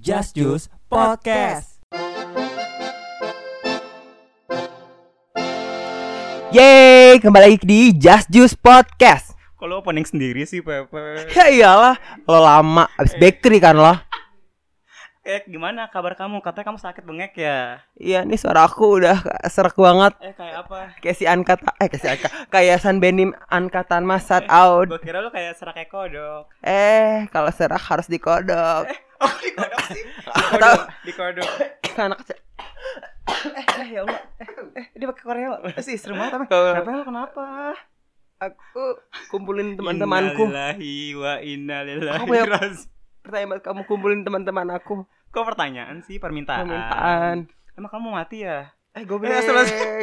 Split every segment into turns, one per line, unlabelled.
Just Juice Podcast.
Yeay, kembali lagi di Just Juice Podcast.
Kalau opening sendiri sih Pepe.
Ya iyalah, lo lama abis bakery kan lo.
Eh gimana kabar kamu? Katanya kamu sakit bengek ya.
Iya, ini suara aku udah serak banget.
Eh kayak apa?
Kayak si Ankata, eh kayak si Anka, kayak San Benim Angkatan Masat Out.
Gue kira lu kayak serak kayak kodok.
Eh, kalau serak harus dikodok.
Oh di kodok sih. Di
Tahu.
kodok. Di kodok.
Anak kecil.
Eh ya Allah. Eh, eh, dia pakai koreo. Sih serem banget tapi.
Kalau-
Kenapa lu kenapa?
Aku kumpulin teman-temanku.
Innalillahi wa inna
Apa ya?
lillahi raji-
Pertanyaan buat kamu kumpulin teman-teman aku.
Kok pertanyaan sih permintaan?
Permintaan.
Emang kamu mau mati ya?
Eh,
Eh, selesai.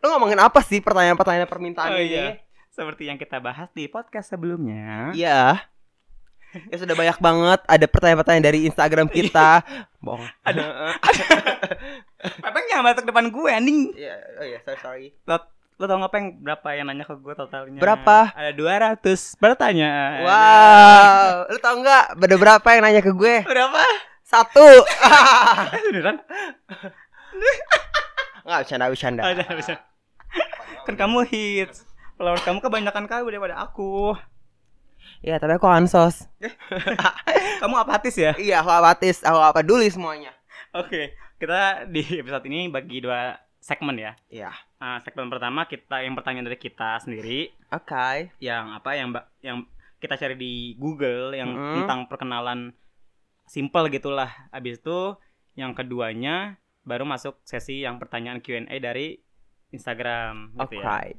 Lo ngomongin apa sih pertanyaan-pertanyaan permintaan
Oh,
ini?
iya. Seperti yang kita bahas di podcast sebelumnya.
Iya. Ya sudah banyak banget ada pertanyaan-pertanyaan dari Instagram kita. Bohong.
Ada. Pepeng yang masuk depan gue anjing.
Iya, oh iya, sorry, sorry.
Lo tau nggak peng berapa yang nanya ke gue totalnya?
Berapa?
Ada 200 pertanyaan.
Wow, lu tau nggak ada berapa yang nanya ke gue?
Berapa?
Satu.
Eh, Beneran?
Nggak bercanda, bercanda.
Ada bisa. Kan kamu hits. Followers kamu kebanyakan kau daripada aku.
Iya, tapi aku ansos.
Kamu apatis ya?
Iya, aku apatis, aku apa dulu semuanya.
Oke, kita di episode ini bagi dua segmen ya.
Iya.
Ah, segmen pertama kita yang pertanyaan dari kita sendiri
Oke.
yang apa yang ba- yang kita cari di Google yang
Mm-mm.
tentang perkenalan simple gitulah. Abis itu yang keduanya baru masuk sesi yang pertanyaan Q&A dari Instagram
Oke.
gitu ya.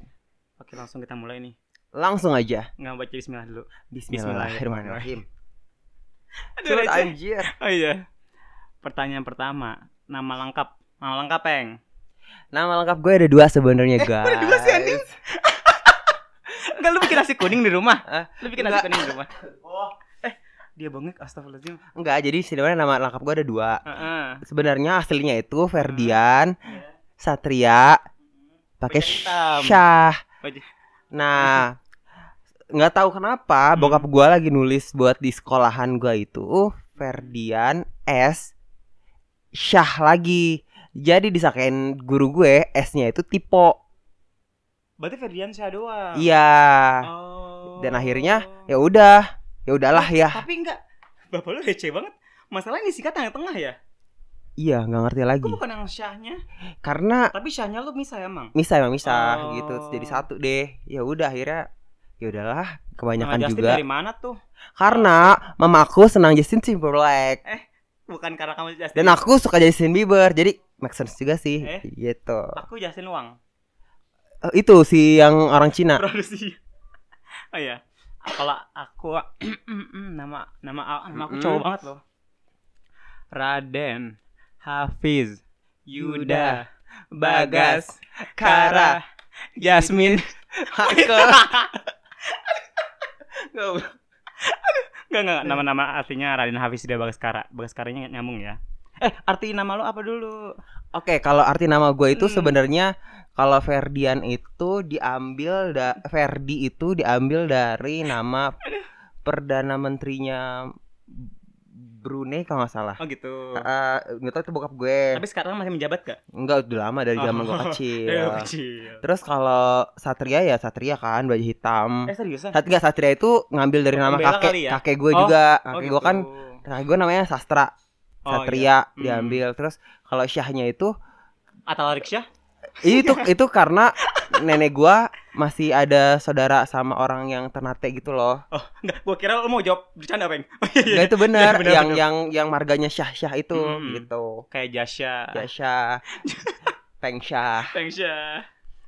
Oke, langsung kita mulai nih.
Langsung aja.
Nggak baca bismillah dulu.
Bismillahirrahmanirrahim.
Aduh,
Surat
receh.
anjir.
Oh iya. Pertanyaan pertama, nama lengkap. Nama lengkap, Peng.
Nama lengkap gue ada dua sebenarnya, guys.
Eh, ada dua sih, anjing? Enggak lu bikin nasi kuning di rumah?
Hah?
Lu bikin nasi
Enggak.
kuning di rumah? Eh, Oh. Eh, dia bengek astagfirullahaladzim.
Enggak, jadi sebenarnya nama lengkap gue ada dua.
Heeh.
sebenarnya aslinya itu
Hmm. Iya.
Ferdian Satria pakai
Baju Hmm. hitam.
Syah.
Baju-
Nah, nggak tahu kenapa
Hmm.
bokap gua lagi nulis buat di sekolahan gua itu Ferdian S Syah lagi. Jadi disakain guru gue S-nya itu Tipo.
Berarti Ferdian saya doang.
Iya.
Oh.
Dan akhirnya Ya udah, ya udahlah ya.
Tapi enggak. Bapak lu receh banget. Masalahnya ini sikat tengah-tengah ya.
Iya, nggak ngerti lagi.
Kok bukan yang syahnya?
Karena
Tapi syahnya lu misah emang.
misah emang misah
Oh.
gitu jadi satu deh ya udah akhirnya ya udahlah
Nama
kebanyakan
Justin
juga
dari mana tuh?
karena mamaku senang Justin Timberlake
Bukan karena kamu Justin.
dan aku suka Justin Bieber jadi make sense juga sih
Eh.
gitu
Aku Justin Wang.
Eh, itu si yang orang Cina
produksi oh iya kalau aku nama nama nama aku
Mm-mm.
cowok banget loh Raden Hafiz Yuda Bagas Kara Jasmine
Michael
Enggak enggak nama-nama artinya Raden Hafiz Yuda Bagas Kara Bagas Karanya nggak nyambung ya eh arti nama lu apa dulu
oke kalau arti nama gue itu
Hmm.
sebenarnya kalau Ferdian itu diambil da Ferdi itu diambil dari nama perdana menterinya Brunei kalau nggak salah
oh gitu
Eh, nggak tahu itu bokap gue
tapi sekarang masih menjabat gak?
Enggak udah lama dari zaman gue
Oh.
kecil
kecil
Terus kalau Satria ya Satria kan baju hitam
eh seriusan
Sat enggak Satria itu ngambil dari nama kakek
Pembela kali ya?
Kakek gue
Oh.
juga Kakek
Oh,
gue kan
gitu.
Kakek gue namanya Sastra
Oh, iya.
Satria
Hmm.
diambil Terus kalau Syahnya itu
Atalariksyah
Itu itu karena nenek gue masih ada saudara sama orang yang ternate gitu loh
oh enggak gua kira lu mau jawab bercanda peng Oh,
Enggak itu bener,
Iya, bener,
Yang
bener.
yang yang marganya Syah-Syah itu
Hmm. Ah.
gitu
kayak Jasya
Ya Syah Peng Syah
Thanks ya.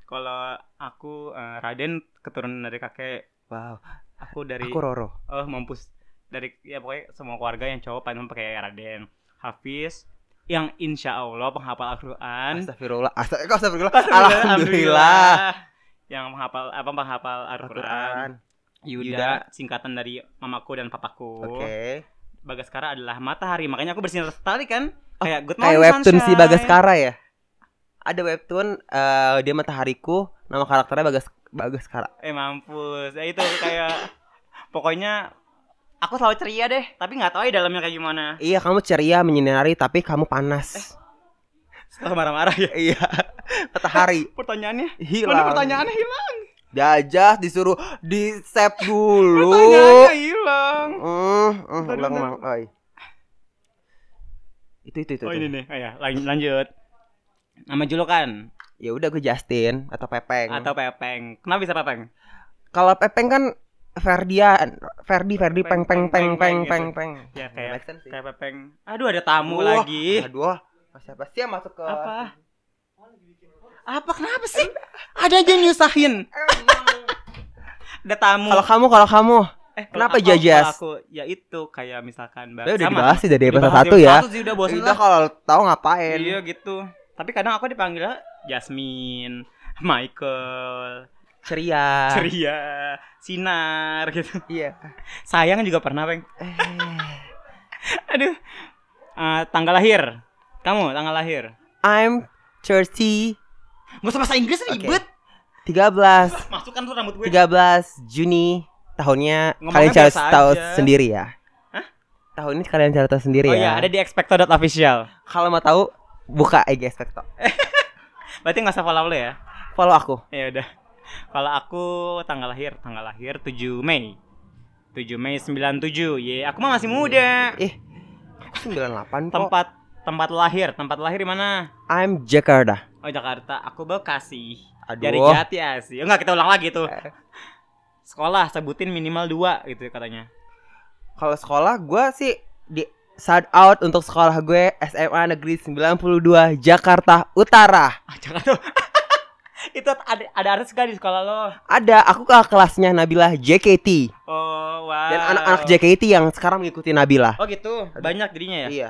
Kalau aku eh, Raden keturunan dari kakek,
Wow
aku dari
Aku Roro
oh mampus dari ya pokoknya semua keluarga yang cowok paling pakai Raden. Hafiz yang insya Allah penghafal Al-Quran.
Astagfirullah Astag- kok Astagfirullah Alhamdulillah
Yang menghafal apa penghafal Al-Quran.
Al-Quran.
Yuda, singkatan dari mamaku dan papaku.
Oke.
Bagaskara adalah matahari, makanya aku bersinar setali kan. Kayak good
Oh, Kayak
morning
webtoon si
sunshine.
Bagaskara ya? Ada webtoon eh, dia Matahariku, nama karakternya Bagas Bagaskara.
Eh mampus, ya itu kayak pokoknya aku selalu ceria deh tapi nggak tahu ya dalamnya kayak gimana
Iya, kamu ceria menyinari tapi kamu panas.
setelah marah-marah ya
Iya. Matahari
pertanyaannya
hilang.
mana pertanyaannya hilang
Dajah disuruh di save dulu.
pertanyaannya hilang
Hmm, hmm,
Bentar,
ulang,
bentar.
ulang. Oi. Itu itu itu.
oh
itu.
ini nih oh, ya lan- lanjut nama julukan
Ya udah gue Justin atau Pepeng.
atau pepeng kenapa bisa pepeng
Kalau Pepeng kan Ferdian, Ferdi, Ferdi, peng,
Peng,
peng, peng,
peng,
peng,
peng,
peng, peng.
ya
Make
kayak
sense sih.
kayak pepeng aduh ada tamu
Wah,
lagi
Aduh, masa pasti yang masuk ke Eh,
Apa? apa kenapa sih ada aja yang nyusahin ada tamu
iya, Kalau kamu, kalau kamu,
eh, kalau
kenapa
aku-
jajas?
kalau aku ya itu kayak misalkan
Tapi Ya, udah dibahas sih dari episode satu ya.
sih udah bosen
Kita
lah
kalau tahu ngapain?
iya gitu tapi kadang aku dipanggilnya Jasmine Michael
Ceria.
ceria sinar gitu
Iya.
sayang juga pernah peng
Eh,
aduh Eh, tanggal lahir kamu tanggal lahir
I'm 30
Gak usah bahasa Inggris
Oke.
ribet
13
Masukkan tuh rambut gue
13 Juni tahunnya
Ngomongnya
kalian cari
biasa
tahu
aja.
sendiri ya. Tahun ini kalian cari tahu sendiri
Oh
ya.
iya ada di expecto.official
Kalau mau tahu buka IG Specto.
Berarti gak usah follow lo ya
Follow aku.
Ya udah. Kalau aku tanggal lahir, tanggal lahir 7 Mei. 7 Mei 97. Ye, aku mah masih muda.
Ih. aku 98 Eh, kok.
Tempat tempat lahir, tempat lahir di mana?
I'm Jakarta.
Oh, Jakarta. Aku Bekasi.
Aduh.
Dari Jati Asih. Enggak, kita ulang lagi tuh.
Eh.
Sekolah sebutin minimal dua gitu katanya.
Kalau sekolah gue sih di shout out untuk sekolah gue SMA Negeri 92 Jakarta Utara.
Ah, jangan tuh. Itu ada ada artis gak di sekolah lo?
Ada aku ke kelasnya Nabila JKT
Oh, wow.
dan anak-anak JKT yang sekarang mengikuti Nabila.
Oh gitu, banyak jadinya ya.
Iya.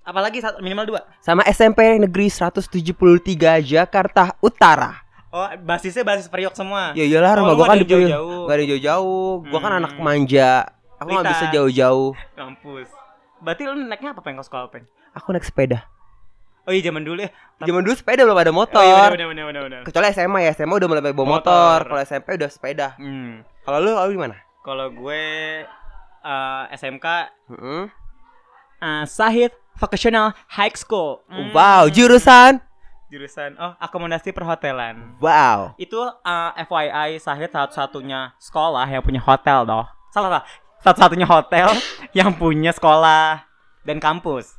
Apalagi satu- minimal dua.
Sama SMP Negeri 173 Jakarta Utara.
Oh, basisnya basis periok semua.
Ya iyalah
Oh,
rumah
lu
gua
nggak
kan
ada
di
yang
Priok.
jauh-jauh.
Gak ada yang jauh-jauh. Gua kan
Hmm.
anak manja. Aku nggak
Lita.
bisa jauh-jauh.
Kampus. Ya Berarti lu naiknya apa peng ke sekolah peng?
Aku naik sepeda.
Oh iya zaman dulu ya.
Zaman dulu sepeda belum ada motor.
Oh iya bener bener bener bener.
Kecuali SMA ya, SMA udah mulai bawa
Motor.
motor. Kalau SMP udah sepeda.
Hmm.
Kalau lu lu gimana?
Kalau gue eh, SMK
Heeh.
Hmm? eh, Sahid Vocational High School. Hmm.
Wow, jurusan.
Jurusan oh akomodasi perhotelan.
Wow.
Itu eh, FYI Sahid satu-satunya sekolah yang punya hotel doh. Salah salah. Satu-satunya hotel yang punya sekolah dan kampus.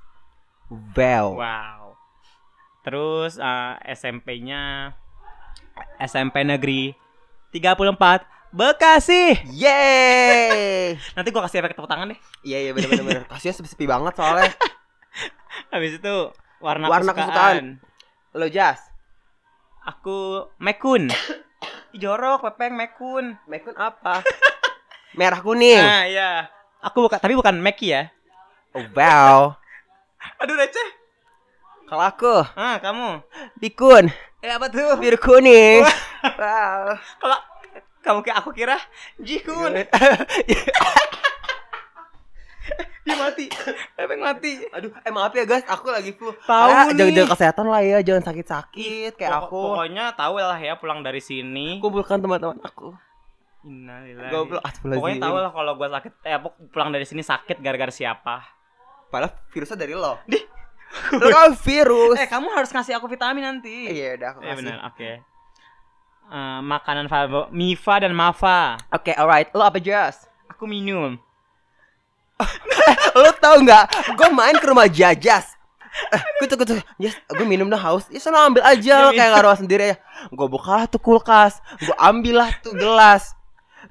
Wow.
Wow. Terus eh, SMP-nya SMP Negeri 34 Bekasi.
Yeay.
Nanti gua kasih efek tepuk tangan deh.
Iya iya benar benar benar. Kasusnya sepi-sepi banget soalnya.
Habis itu warna,
Warna
kesukaan.
Lo Jas,
Aku Mekun. Ih, Jorok, Pepeng, Mekun.
Mekun apa? Merah kuning.
Nah, iya. Aku bukan tapi bukan Meki ya.
Oh, wow.
Aduh receh.
Kalau aku,
Ah, kamu.
bikun.
Eh apa tuh?
Biru kuning. Wow.
Kalau kamu kira aku kira Jikun. Dia mati. Pepeng mati.
Aduh, eh maaf ya guys, aku lagi flu.
Tahu
Ah,
nih.
jaga-jaga kesehatan lah ya, jangan sakit-sakit kayak
Pokok-
aku.
Pokoknya tahu lah ya pulang dari sini.
Kumpulkan teman-teman aku.
Innalillahi.
Goblok,
Nah, iya. Pokoknya tahu
astagfirullahaladzim.
lah kalau gua sakit eh aku pulang dari sini sakit gara-gara siapa.
Padahal virusnya dari lo.
Dih.
Lo kan virus.
Eh, kamu harus ngasih aku vitamin nanti.
Iya, udah aku
Iya
kasih.
benar, oke. Eh, makanan favo Mifa dan Mafa.
Oke, alright. Lo apa Jas?
Aku minum.
Lo tau nggak? Gue main ke rumah Jajas. Eh, kutuk kutuk Jas, gue minum dong haus Ya sana ambil aja lo
Iya,
kayak ngaruh sendiri ya Gue bukalah tuh kulkas Gue ambil lah tuh gelas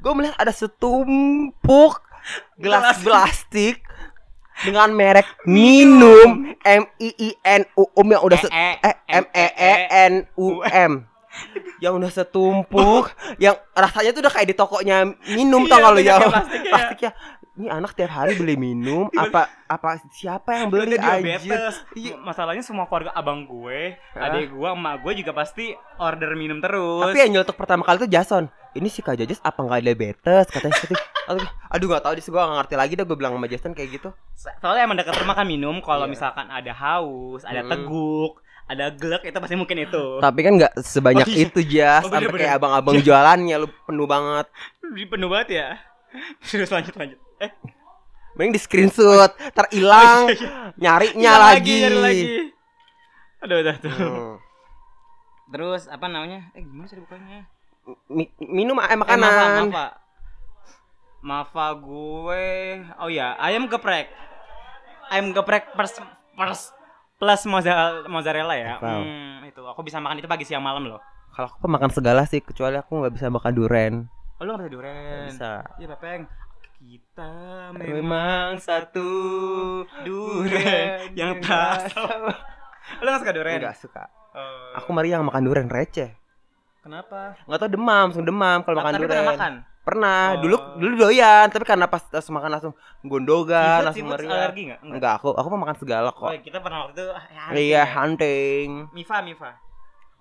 Gue melihat ada setumpuk Gelas
Gelas.
plastik Dengan merek Minum M-I-I-N-U-M Yang udah se
Eh,
eh, M-E-E-N-U-M Yang udah setumpuk Yang rasanya tuh udah kayak di tokonya Minum tau gak
Iya,
lo
minyak
ya
kayak plastik ya.
Plastiknya Ini anak tiap hari beli minum Apa apa siapa yang beli
Dia
anjir
diabetes.
Iya.
Masalahnya semua keluarga abang gue,
Hah?
adik gue, emak gue juga pasti order minum terus.
Tapi yang nyelotok pertama kali tuh Jason. Ini si Kak Jajas apa nggak diabetes katanya seperti aduh, aduh gak tau dis gue gak ngerti lagi dah gue bilang sama Jason kayak gitu.
So- Soalnya emang dekat rumah kan minum kalau
Iya.
misalkan ada haus, ada
Hmm.
teguk, ada gelek itu pasti mungkin itu.
Tapi kan nggak sebanyak
Oh, iya.
itu Jas,
Oh,
sampai
bener-bener.
kayak abang-abang jualannya lu penuh banget.
Di penuh banget ya. Terus lanjut lanjut.
Mending di
Oh,
screenshot,
iya.
terhilang, nyarinya
Hilang
lagi.
nyari lagi. Aduh, udah tuh.
Hmm.
Terus apa namanya? Eh, gimana sih bukannya?
Mi- minum eh
Eh, Mafa,
makanan.
Mafa. Mafa gue. Oh ya, ayam geprek. Ayam geprek plus plus plus mozzarella, mozzarella ya.
Wow.
Hmm, itu aku bisa makan itu pagi siang malam loh.
Kalau aku pemakan segala sih, kecuali aku nggak bisa makan duren.
Oh, lu gak bisa durian.
Bisa.
Iya, Pepeng. Kita memang
Memang satu
durian yang tak. Lu gak suka durian?
Enggak suka.
Eh,
Aku mari yang makan duren receh.
kenapa?
Nggak tau demam, langsung demam kalau makan
Tapi
durian.
pernah makan.
Pernah.
Oh.
Dulu dulu doyan, tapi karena pas langsung makan langsung gondogan,
Seafood,
langsung
seafood
meriah.
alergi nggak? Enggak.
Enggak, aku aku mau makan segala
Oh,
kok.
kita pernah waktu itu ah, ya,
Iya,
ya.
hunting.
Mifa, Mifa.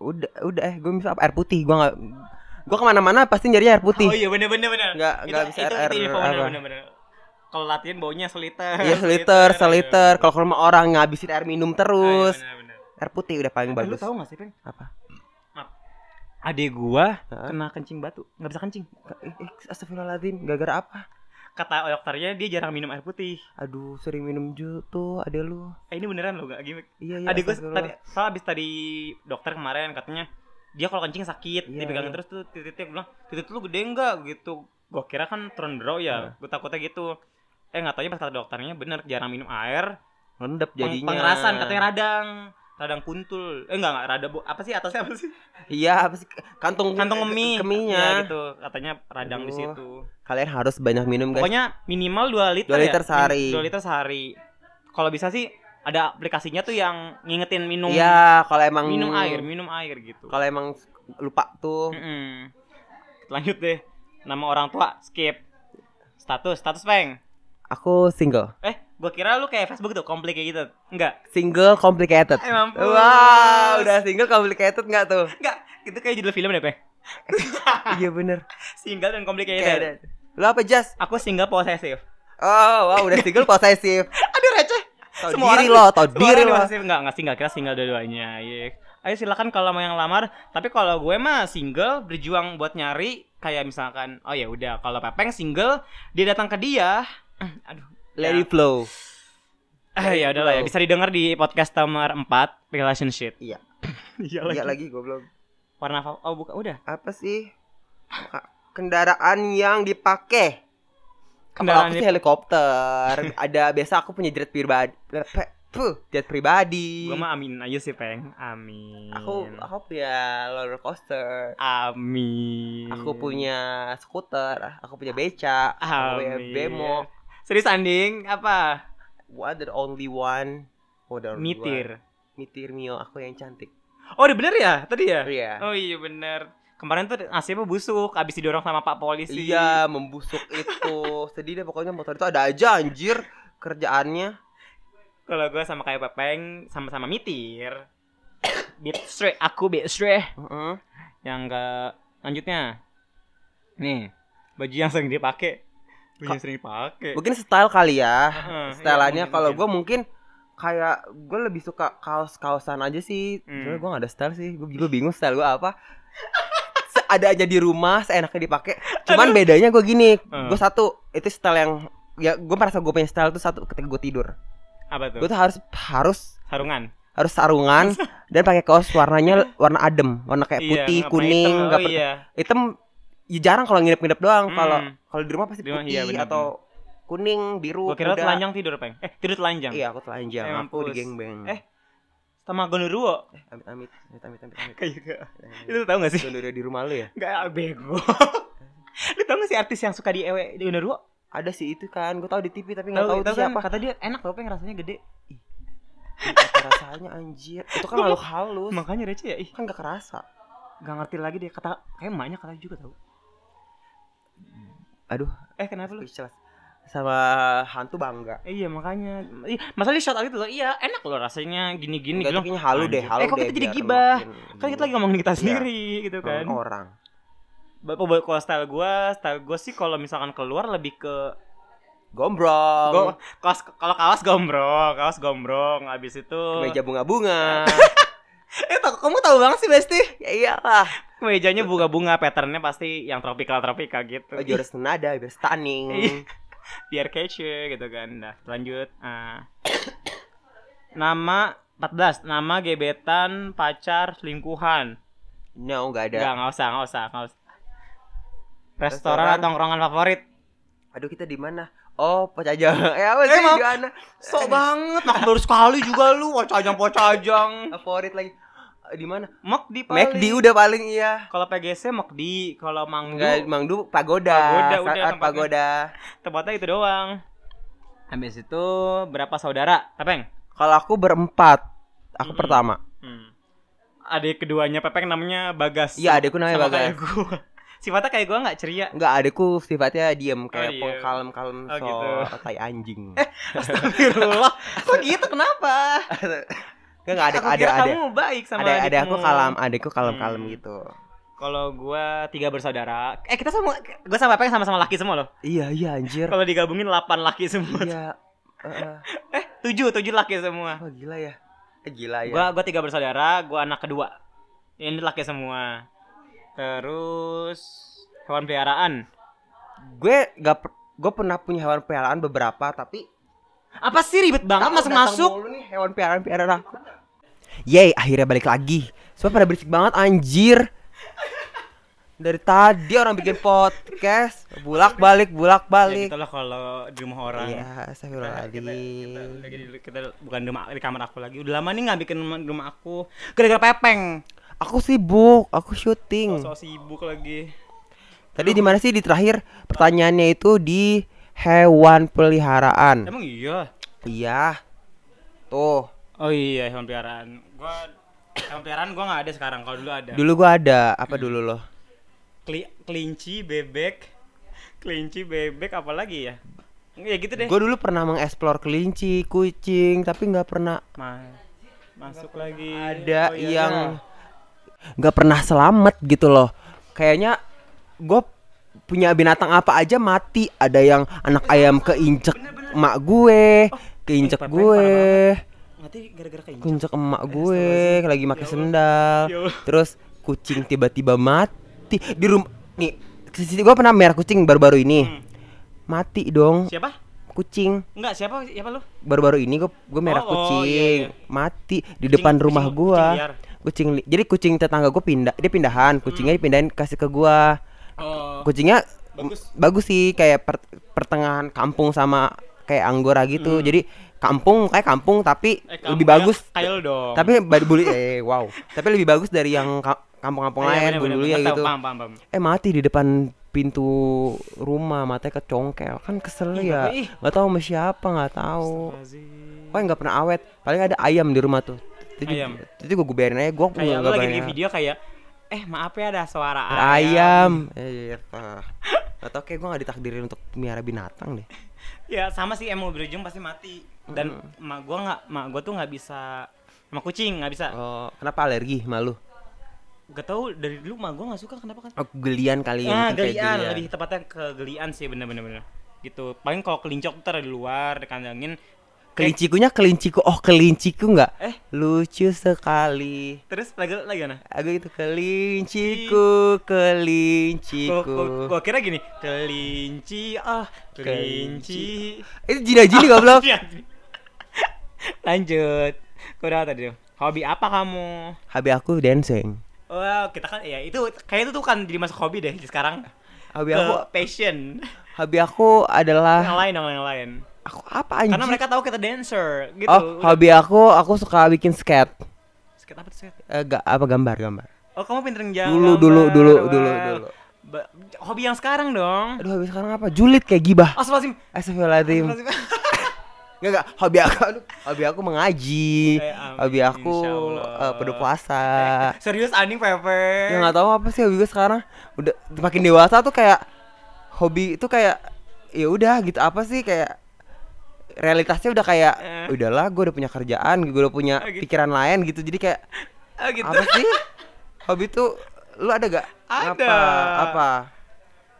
Udah, udah eh gue bisa apa air putih. Gua nggak gua kemana mana pasti nyari air
Oh
putih.
iya bener bener bener.
Nggak nggak bisa air, air
itu
apa.
bener bener. Kalau latihan baunya seliter. iya.
Iya, seliter, seliter. Kalau ke rumah orang ngabisin air minum terus. Air putih udah paling
Bagus. Eh, iya. Lu
bagus.
tahu gak sih, Peng?
Apa?
Maaf. Adik gua
Hah?
kena kencing batu, nggak bisa kencing.
Eh, eh, Astagfirullahaladzim, gara-gara apa?
Kata dokternya dia jarang minum air putih.
Aduh, sering minum jus tuh, ada lu.
Eh ini beneran loh gak gimmick.
Iya, iya.
Adik gua
astagfirullah.
tadi soal abis tadi dokter kemarin katanya dia kalau kencing sakit,
Iya,
dipegangin
iya.
terus tuh titik-titik Gua bilang, "Titik lu gede enggak?" gitu. Gua kira kan turun bro
Iya.
ya, gua takutnya gitu. Eh nggak taunya pas kata dokternya bener jarang minum air,
ngendep
Peng-
jadinya.
pengerasan katanya radang radang kuntul eh enggak enggak rada bo- apa sih atasnya apa sih
Iya, apa sih kantung
kantong kemi
keminya.
Iya, gitu katanya radang di
Aduh.
situ
ya. Kalian harus banyak minum, guys.
pokoknya minimal 2 liter
Dua
ya?
liter sehari.
Min- dua liter sehari kalau bisa sih ada aplikasinya tuh yang ngingetin minum
Iya, kalau emang
minum air Hmm. minum air gitu
Kalau emang lupa tuh.
Mm-mm. lanjut deh nama orang tua skip status status peng
Aku single.
eh gua kira lu kayak Facebook tuh komplik kayak gitu enggak
Single complicated.
eh mampus
Wow, udah single complicated nggak tuh?
enggak itu kayak judul film deh peng
iya bener.
single Iya, dan complicated
Kayak Lu apa Jas?
Aku single posesif.
Oh, wow, udah single posesif.
Aduh receh.
Tau
Semua
diri lo,
orang-
tau
Semua
diri
orang
lo.
posesif enggak enggak single kita single dua-duanya. Iya. Ayo silakan kalau mau yang lamar, tapi kalau gue mah single berjuang buat nyari kayak misalkan oh ya udah kalau Pepeng single dia datang ke dia. Eh, Aduh.
Lady flow.
Eh, ya udahlah ya bisa didengar di podcast nomor 4 relationship.
Iya.
Iya lagi.
Iya lagi goblok.
Warna fa- oh bukan udah.
Apa sih? Ka- Kendaraan yang dipakai. Kalau
Kendaraan
aku
di-
sih helikopter. Ada biasa aku punya jet pribadi. Pe- Puh, jet pribadi.
Gue mah amin aja sih Peng. Amin.
Aku aku punya roller coaster.
amin.
Aku punya skuter, aku punya beca, aku punya
Amin.
bemo.
Serius Anding apa?
What the only one? Oh, the only
Mitir.
one. Mitir Mio, aku yang cantik.
Oh, udah bener ya tadi ya?
Iya.
Oh iya bener. Kemarin tuh nasibnya busuk, abis didorong sama pak polisi.
Iya, membusuk itu. Sedih deh pokoknya motor itu ada aja anjir kerjaannya.
Kalau gue sama kayak Pepeng, sama-sama mitir. beat straight, aku beat straight.
Heeh.
Eh. Yang ke lanjutnya, nih baju yang sering dipakai, baju yang sering dipakai.
Mungkin style kali ya.
Heeh, iya,
Stylannya
mungkin,
kalau
mungkin.
gue mungkin kayak gue lebih suka kaos kaosan aja sih.
Hmm.
Soalnya gue gak ada style sih. Gue juga bingung style gue apa. Se- Ada aja di rumah, seenaknya dipakai. Cuman bedanya gue gini,
Hmm.
gue satu itu style yang ya gue merasa gue punya style tuh satu ketika gue tidur.
apa tuh?
Gue tuh harus harus
Sarungan.
harus sarungan dan pakai kaos warnanya warna adem, warna kayak
Iya,
putih,
nggak pernah
kuning,
hitam.
nggak
Oh
per-
iya.
hitam. Ya jarang kalau ngidep-ngidep doang. Kalau
Hmm.
kalau di rumah pasti
Di rumah,
putih
iya, bener.
atau kuning, biru,
Gue kira
kuda.
telanjang tidur peng. Eh tidur telanjang.
Iya, aku telanjang.
Eh,
aku di
mampus.
gengbang.
Eh. Sama gondoruo.
eh amit amit amit amit amit. amit.
Kayak
Eh,
itu tau gak sih?
Itu dari di rumah lu ya?
Gak bego. Lu tau gak sih artis yang suka di ewe di Gondoruo?
Ada sih itu kan, gue tahu di TV tapi nggak tahu
Tahu tahu
itu
kan?
siapa.
Kata dia enak loh pengen rasanya gede.
Ih, apa rasanya anjir. Itu kan makhluk halus.
Makanya receh ya. Ih,
Kan gak kerasa.
gak ngerti lagi dia kata kayak emaknya kata juga tahu.
Aduh.
Eh kenapa lu?
Speechless. Sama hantu bangga.
Eh, iya makanya. Ih, masalahnya shout out gitu loh. Iya, enak loh rasanya gini-gini
Nggak,
gitu.
tuh kayaknya halu deh,
Anjir.
halu
Eh, kok
deh.
kita jadi
biar
gibah?
makin-
Kan kita lagi ngomongin
Iya.
kita
oh.
sendiri gitu kan.
ngomongin orang.
Ba- ba- Kalau style gua, style gua sih kalau misalkan keluar lebih ke
Gombrong.
Gua- kaos kalau kaos gombrong, kaos gombrong habis itu.
Meja bunga-bunga.
Eh, tau- kamu tahu banget sih, Besti.
ya iyalah. Oh,
Mejanya bunga-bunga, patternnya pasti yang tropical-tropical gitu. Iya.
Baju harus senada, biar stunning.
biar kece gitu kan nah lanjut ah. nama 14 nama gebetan pacar selingkuhan
No, nggak ada.
Enggak, nggak usah, nggak usah, nggak usah. Restoran, atau tongkrongan favorit?
Aduh kita di mana? Oh, Pocajang. Eh apa
Eh,
sih
maaf.
di mana?
Sok banget, nak baru sekali juga lu, pocajang pocajang.
Favorit lagi. Eh, Di mana?
Mok di paling.
McD udah paling iya.
Kalau PGC Mok di, kalau Mangdu
Enggak, Mang Du pagoda.
Pagoda, udah
Saat
tempatnya.
pagoda.
tempatnya itu doang. Habis itu berapa saudara? Tepeng.
Kalau aku berempat. Aku
Mm-mm.
pertama.
Hmm. Adik keduanya Pepeng namanya Bagas.
Iya, adikku namanya
Sama
Bagas.
Kayak gua. Sifatnya kayak gua nggak ceria.
Enggak, adikku sifatnya diem kayak
diem.
pol kalem-kalem
Oh,
so
gitu.
tai anjing.
Astagfirullah. Kok gitu kenapa?
Enggak enggak ada
Aku
ada
kira
ada.
kamu baik sama
Ada ada aku
adikmu.
kalem, adikku kalem-kalem
Hmm.
gitu.
Kalau gua tiga bersaudara, eh kita semua gua sama Pepeng sama-sama laki semua loh.
Iya, iya anjir.
Kalau digabungin 8 laki semua.
Iya. Heeh.
Tujuh, tujuh laki semua.
Wah, gila ya. Eh, Gila ya.
Gua gua tiga bersaudara, gua anak kedua. Ini laki semua. Terus hewan peliharaan.
gue gak gue pernah punya hewan peliharaan beberapa tapi
Apa sih ribet banget
Takut
masuk
datang
masuk?
mulu nih hewan peliharaan peliharaan aku yey akhirnya balik lagi semua pada berisik banget anjir dari tadi orang bikin podcast bulak balik bulak
Ya
balik
gitu lah kalau di rumah orang.
Iya,
kita, kita,
astagfirullahaladzim
lagi di- gitu. kita bukan di rumah di kamar aku lagi. Udah lama nih nggak bikin rumah- di rumah aku. Gara-gara pepeng.
Aku sibuk, aku syuting
Oh, So, sibuk lagi.
Tadi di mana sih di terakhir Pertanyaannya itu di hewan peliharaan
Emang iya.
Iya Tuh
Oh iya hewan peliharaan. Gua hewan peliharaan gua nggak ada sekarang. Kalau dulu ada.
Dulu gua ada, apa
Hmm.
dulu loh?
Kli- kelinci, bebek, kelinci, bebek, apalagi ya? Ya gitu deh.
Gue dulu pernah mengeksplor kelinci, kucing, tapi nggak pernah
Ma- masuk lagi.
ada
Oh, iya,
yang
iya.
nggak pernah selamat gitu loh. Kayaknya gue punya binatang apa aja mati. Ada yang anak
Iya.
ayam keinjek emak gue,
Oh,
keinjek
pepeng
gue,
Nanti gara-gara kayak gitu.
keinjek emak gue, lagi pakai sendal.
Ya Allah.
Terus kucing tiba-tiba mati di rumah. Nih, gue pernah merah kucing baru-baru ini.
Hmm.
Mati dong
Siapa?
kucing.
Enggak, siapa? Siapa lu?
baru-baru ini gue gue merah
Oh, oh,
kucing
iya, iya.
mati di
Kucing-
depan rumah
kucing-
gua
kucing liar. Hmm.
kucing li- jadi kucing tetangga gue pindah dia pindahan kucingnya dipindahin kasih ke gua
Oh.
kucingnya
Bagus.
m- bagus sih kayak per- pertengahan kampung sama kayak anggora gitu jadi kampung kayak kampung tapi
Hmm. Eh,
lebih
kamu
bagus
Kayak, kayak lu dong.
tapi bad bully eh wow tapi lebih bagus dari yang ka- kampung-kampung
Iya,
lain
bener,
dulu
bener,
ya
bener.
gitu
Paham, paham, paham.
eh mati di depan pintu rumah matanya kecongkel kan kesel
Ih,
ya
tapi ih.
nggak tahu sama siapa nggak tahu
Lazim.
Pokoknya nggak pernah awet. Paling ada ayam di rumah tuh. Itu juga-
Ayam.
Itu gue guberin aja. Gue nggak
Kayak lu lagi
berani.
di video kayak eh maaf ya ada suara
Ada
ayam.
Ayam. Eh, ah. Gak tau kayak gue gak ditakdirin untuk miara binatang deh.
Ya sama sih emang berujung pasti mati. Dan emak gua nggak, emak gua tuh nggak bisa sama kucing nggak bisa.
Oh, kenapa alergi malu?
Gak tau dari dulu emak gua nggak suka kenapa kan?
Oh, gelian kali ya.
Ah
mungkin kayak
gelian lebih tepatnya kegelian sih bener-bener bener. Gitu. Paling kalau kelincok ntar di luar dikandangin.
Kelincikunya kelinciku. Oh, kelinciku nggak?
Eh.
Lucu sekali.
Terus lagi lagi mana?
Aku itu kelinciku,
Gua- Gua
kelinciku.
gua kira gini kelinci ah kelinci.
Itu jina-jini goblok.
Iya. Lanjut. Kau udah tadi. Hobi apa kamu?
Habis aku dancing.
Wah, kita kan ya itu kayaknya itu tuh kan jadi masuk hobi deh sekarang.
Habis
Ke
aku,
passion.
habis aku adalah
Yang lain dong yang lain.
aku apa anjir?
Karena mereka tahu kita dancer gitu.
Oh,
Udah.
hobi aku, aku suka bikin skate.
Skate apa tuh skate?
Eh, ga- apa gambar, gambar.
Oh, kamu pinter ngejar.
Dulu, dulu, dulu, dulu, dulu.
hobi yang sekarang dong. Oh,
Aduh, habis sekarang apa? Julid kayak gibah.
Astagfirullahaladzim.
Astagfirullahaladzim. Enggak, enggak. Hobi aku, aduh, hobi aku mengaji.
Eh, amin,
Hobi aku
insya Allah.
eh, pada puasa.
Serius anjing Pepe.
Ya Ah. nggak tahu apa sih hobi gue sekarang. Udah makin dewasa tuh kayak hobi itu kayak ya udah gitu apa sih kayak realitasnya udah kayak
Eh.
udahlah gue udah punya kerjaan gue udah punya
Oh, gitu.
pikiran lain gitu jadi kayak
Oh, gitu.
apa sih hobi tuh lu ada gak
Ada.
apa apa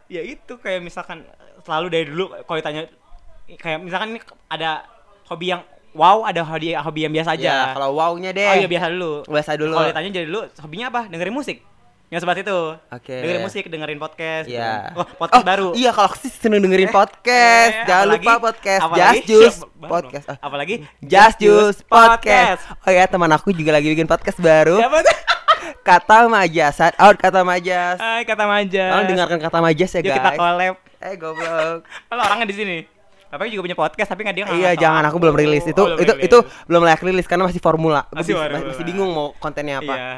ya itu kayak misalkan selalu dari dulu kalau ditanya kayak misalkan ini ada hobi yang wow ada hobi hobi yang biasa aja
ya kalau wownya deh
oh iya biasa dulu
Biasa dulu.
kalau ditanya jadi dulu hobinya apa dengerin musik Yang sobat itu.
Oke.
Dengerin musik, dengerin podcast. gitu.
Iya.
Oh, podcast baru.
Iya, kalau sih seneng dengerin podcast.
Eh,
Jangan
apalagi-
lupa podcast
apalagi-
Just Juice
Baru.
podcast. Oh,
Apalagi
Just Juice podcast. Oh ya, teman aku juga lagi bikin podcast baru.
Siapa tuh?
Kata Majas. Shout Out kata Majas.
Hai, kata manja.
Tolong dengarkan kata Majas ya,
Eh. Yuk kita
guys.
collab.
Eh, goblok.
Kalau orangnya di sini. Bapaknya juga punya podcast tapi nggak dia nggak
Iya,
ngasih
jangan
tahu.
aku belum rilis itu.
Oh, belum
itu
rilis.
itu belum layak rilis karena masih formula. Gua Masih,
Masih formula.
masih bingung mau kontennya apa.
Iya.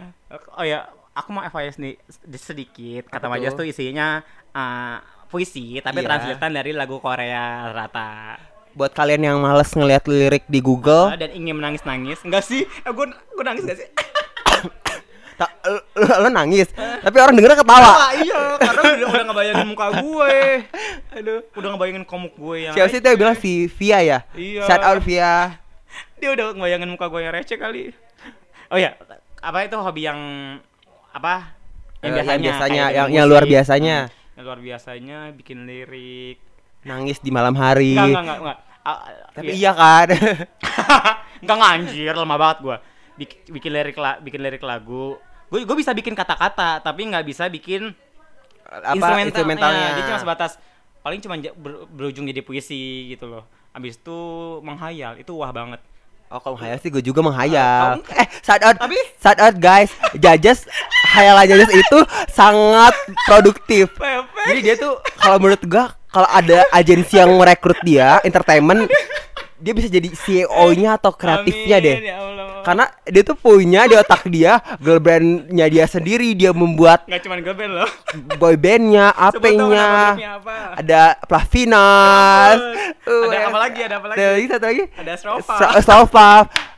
Oh ya, aku mau FYI nih sedikit. Kata
Apa
Majas
tuh?
tuh isinya eh, puisi tapi
Iya.
translatean dari lagu Korea rata.
Buat kalian yang males ngelihat lirik di Google,
Dan ingin menangis-nangis. Enggak sih? Eh, gue gue nangis gak sih?
ta- lu- lu- lu nangis. Tapi orang dengernya ketawa.
Ah, iya, karena udah, udah ngebayangin muka gue. Aduh, udah ngebayangin komuk gue yang
Siapa sih itu yang bilang si Via ya?
Iya.
Shout out Via.
Dia udah ngebayangin muka gue yang receh kali. Oh ya, apa itu hobi yang apa?
Eh, yang biasanya,
kayak
yang-
dengerin
yang luar
musik.
biasanya.
Hmm, yang luar biasanya bikin lirik.
Nangis di malam hari.
Enggak, enggak, enggak, enggak. Ah,
Tapi iya kan.
Enggak enggak, anjir, lemah banget gua. Bikin, bikin lirik la- bikin lirik lagu. Gue gue bisa bikin kata-kata, tapi nggak bisa bikin
Apa
Instrumental-
instrumentalnya?
iya, dia cuma sebatas paling cuma ja- ber- berujung jadi puisi gitu loh. Abis itu menghayal, itu wah banget.
Oh, kalau menghayal sih gue juga menghayal.
Kau-
eh, shout out.
Tapi-
Shout out guys. Jajas hayalan Jajas itu sangat produktif. Jadi dia tuh kalau menurut gua kalau ada agensi yang merekrut dia entertainment dia bisa jadi CEO-nya atau kreatifnya
Amin,
deh.
ya Allah.
Karena dia tuh punya di otak dia girl brand-nya dia sendiri, dia membuat
Nggak cuma gue band loh.
boy band-nya,
Sebut dong nama
AP-nya.
grupnya apa?
Ada Plavinas.
ampun. Ada apa lagi? Ada apa lagi?
Ada satu lagi.
Ada Strofa.
Stro- Strofa.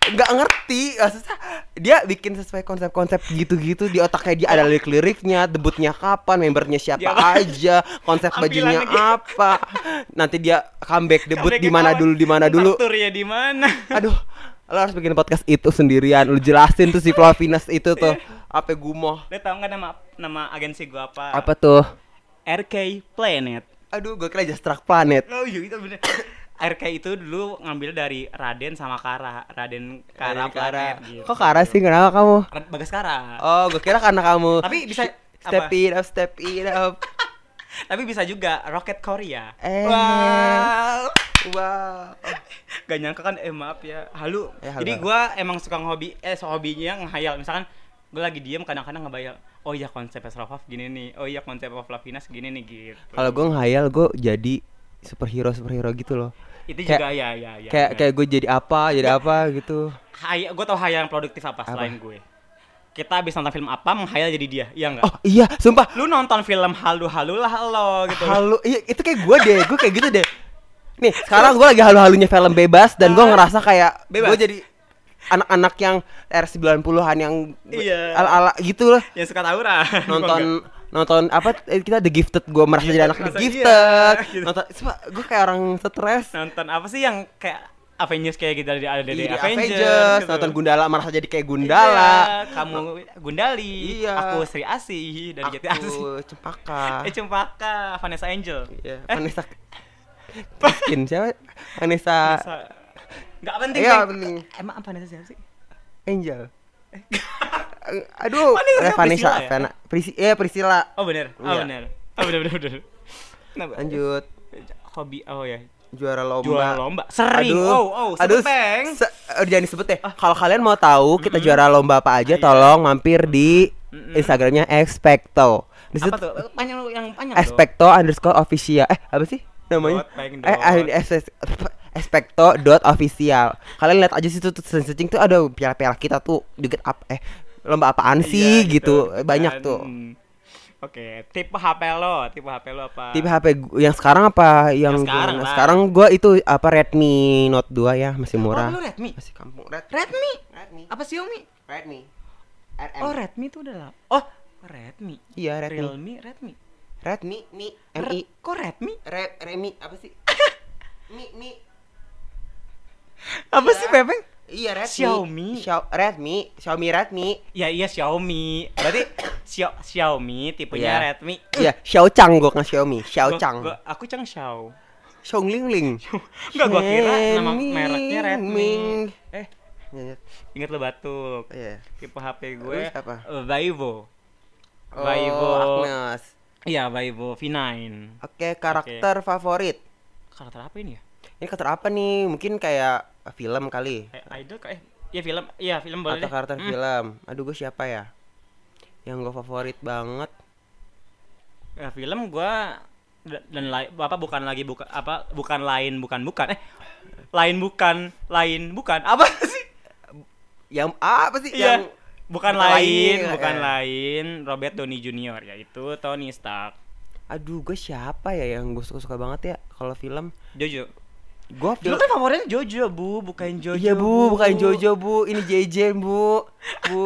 Nggak ngerti. Maksudnya, dia bikin sesuai konsep-konsep gitu-gitu di otaknya dia ada lirik-liriknya, debutnya kapan, membernya siapa
Dia apa? gitu.
aja, konsep bajunya
Tampilannya dia.
apa. Nanti dia comeback debut
Sampai
di mana
ketahuan.
dulu, di mana dulu.
Fakturnya di mana?
Aduh, lo harus bikin podcast itu sendirian. Lu jelasin tuh si Plavinas itu tuh apa gumoh.
Lo tau nggak nama nama agensi gue apa?
Apa tuh?
RK Planet.
Aduh, gue kira Just Track Planet.
Oh iya itu bener. RK itu dulu ngambil dari Raden sama Kara, Raden Kara,
Kara, Kara.
Planet gitu.
Kok Kara sih kenapa kamu?
Rad- Bagas Kara.
Oh, gue kira karena kamu.
Tapi bisa-
step
apa?
it up, step it up.
Tapi bisa juga Rocket Korea.
Eh.
Wow.
Wow.
Gak nyangka kan eh maaf ya. Halu.
Eh, halu.
Jadi gua emang suka hobi eh so hobinya ngehayal. Misalkan gue lagi diem kadang-kadang ngebayal. Oh iya konsep Srovaf gini nih. Oh iya konsep of Lavinas gini nih gitu.
Kalau gue ngayal gue jadi superhero superhero gitu loh.
itu
kayak-
juga ya ya ya.
kayak kayak gue jadi apa, jadi apa gitu.
gue tau hayal yang produktif apa, selain gue. Kita habis nonton film apa menghayal jadi dia. Iya enggak?
Oh iya, sumpah.
Lu nonton film halu-halu lah lo gitu.
Halu, iya itu kayak gue deh, gue kayak gitu deh. Nih sekarang gue lagi halu-halunya film bebas dan gue ngerasa kayak
Ah. Bebas.
gue jadi anak-anak yang R 90-an yang
Iya.
ala-ala gitu loh
Yang suka tawuran.
nonton nonton apa eh, kita The Gifted gue merasa jadi anak The
Iya, merasa
Gifted
iya, gitu.
nonton gue kayak orang stres
nonton apa sih yang kayak Avengers kayak gitu dari ada dari
Jadi
Avengers, gitu.
Iya, nonton Gundala merasa jadi kayak Gundala
Iya, kamu Gundali,
Iya.
aku Sri Asih dari Jati Asih.
aku cempaka
Eh Cempaka, Vanessa Angel. Eh,
Iya, Vanessa Miskin siapa Vanessa
Vanessa- Nggak penting.
Iya,
Bang.
penting.
Emang Vanessa siapa sih?
Angel aduh
Vanessa
eh, Vanessa
Priscilla ya?
Vanessa Prisi eh Priscila
Oh benar. Oh
Iya.
benar. Oh benar benar benar. Kenapa?
lanjut
Hobi oh ya.
juara lomba
Juara lomba. Sering.
Aduh,
Oh, oh,
aduh,
sepeng. Ah.
se- eh, jangan disebut deh. Kalau kalian mau tahu kita juara lomba apa aja,
iya.
tolong mampir di Instagramnya Expecto. Di situ
Apa tuh? Panjang lu yang panjang dong.
Expecto underscore official. Eh, apa sih namanya?
Dot, pengen
Eh, ah,
dot.
es- es- Expecto dot official. Kalian lihat aja situ tuh searching tuh ada piala-piala kita tuh dikit up eh lomba apaan
Iya,
sih gitu. Eh, Banyak
kan.
tuh.
Hmm. Oke, tipe HP lo, tipe HP lo apa?
Tipe HP gu- yang sekarang apa yang, Nah,
Yang sekarang lah.
sekarang gua itu apa Redmi Note 2 ya, masih murah.
Oh, lu Redmi.
Masih kampung Redmi.
Redmi.
Redmi.
Apa Xiaomi?
Redmi.
Oh, Redmi itu udah lama. Oh, Redmi.
Iya, Redmi.
Realme, Redmi.
Redmi, Mi,
Re-
Mi,
Kok Redmi?
Re, Remi, apa sih? Mi, Mi.
Apa sih, Pepeng?
Iya, Redmi.
Xiaomi.
Xiao- Redmi, Xiaomi Redmi.
Ya iya Xiaomi. Berarti Xia- Xiaomi tipenya
Iya.
Redmi.
Iya, Xiaochang gua kan Xiaomi,
Gua-
Xiaochang.
gua- aku Chang Xiao.
Xiaonglingling.
Enggak gua kira nama
Xiaomi.
mereknya Redmi. Eh,
Iya.
inget lo batuk.
Iya.
Tipe HP gue
Terus apa?
eh, Vivo.
Oh,
Baibo.
Agnes.
Iya, Baibo V9.
Oke, karakter favorit.
Karakter apa ini ya?
Ini karakter apa nih? Mungkin kayak film kali.
Kayak idol kayak ya film, iya film boleh.
Atau
deh.
karakter
Hmm.
film. Aduh, gue siapa ya? Yang gue favorit banget.
Ya, film gua da- dan lain apa bukan lagi buka apa bukan lain bukan bukan eh lain bukan lain bukan apa sih
Yang ah, apa sih?
Iya.
Yang
bukan
Bukan
lain
lain,
bukan
eh.
lain Robert Downey Jr. yaitu Tony Stark
Aduh, gue siapa ya yang gue suka-suka banget ya kalau film?
Jojo
Gue
Lu
film.
kan favoritnya Jojo bu bukan Jojo
Iya bu, bukan Jojo bu, ini JJ bu, bu.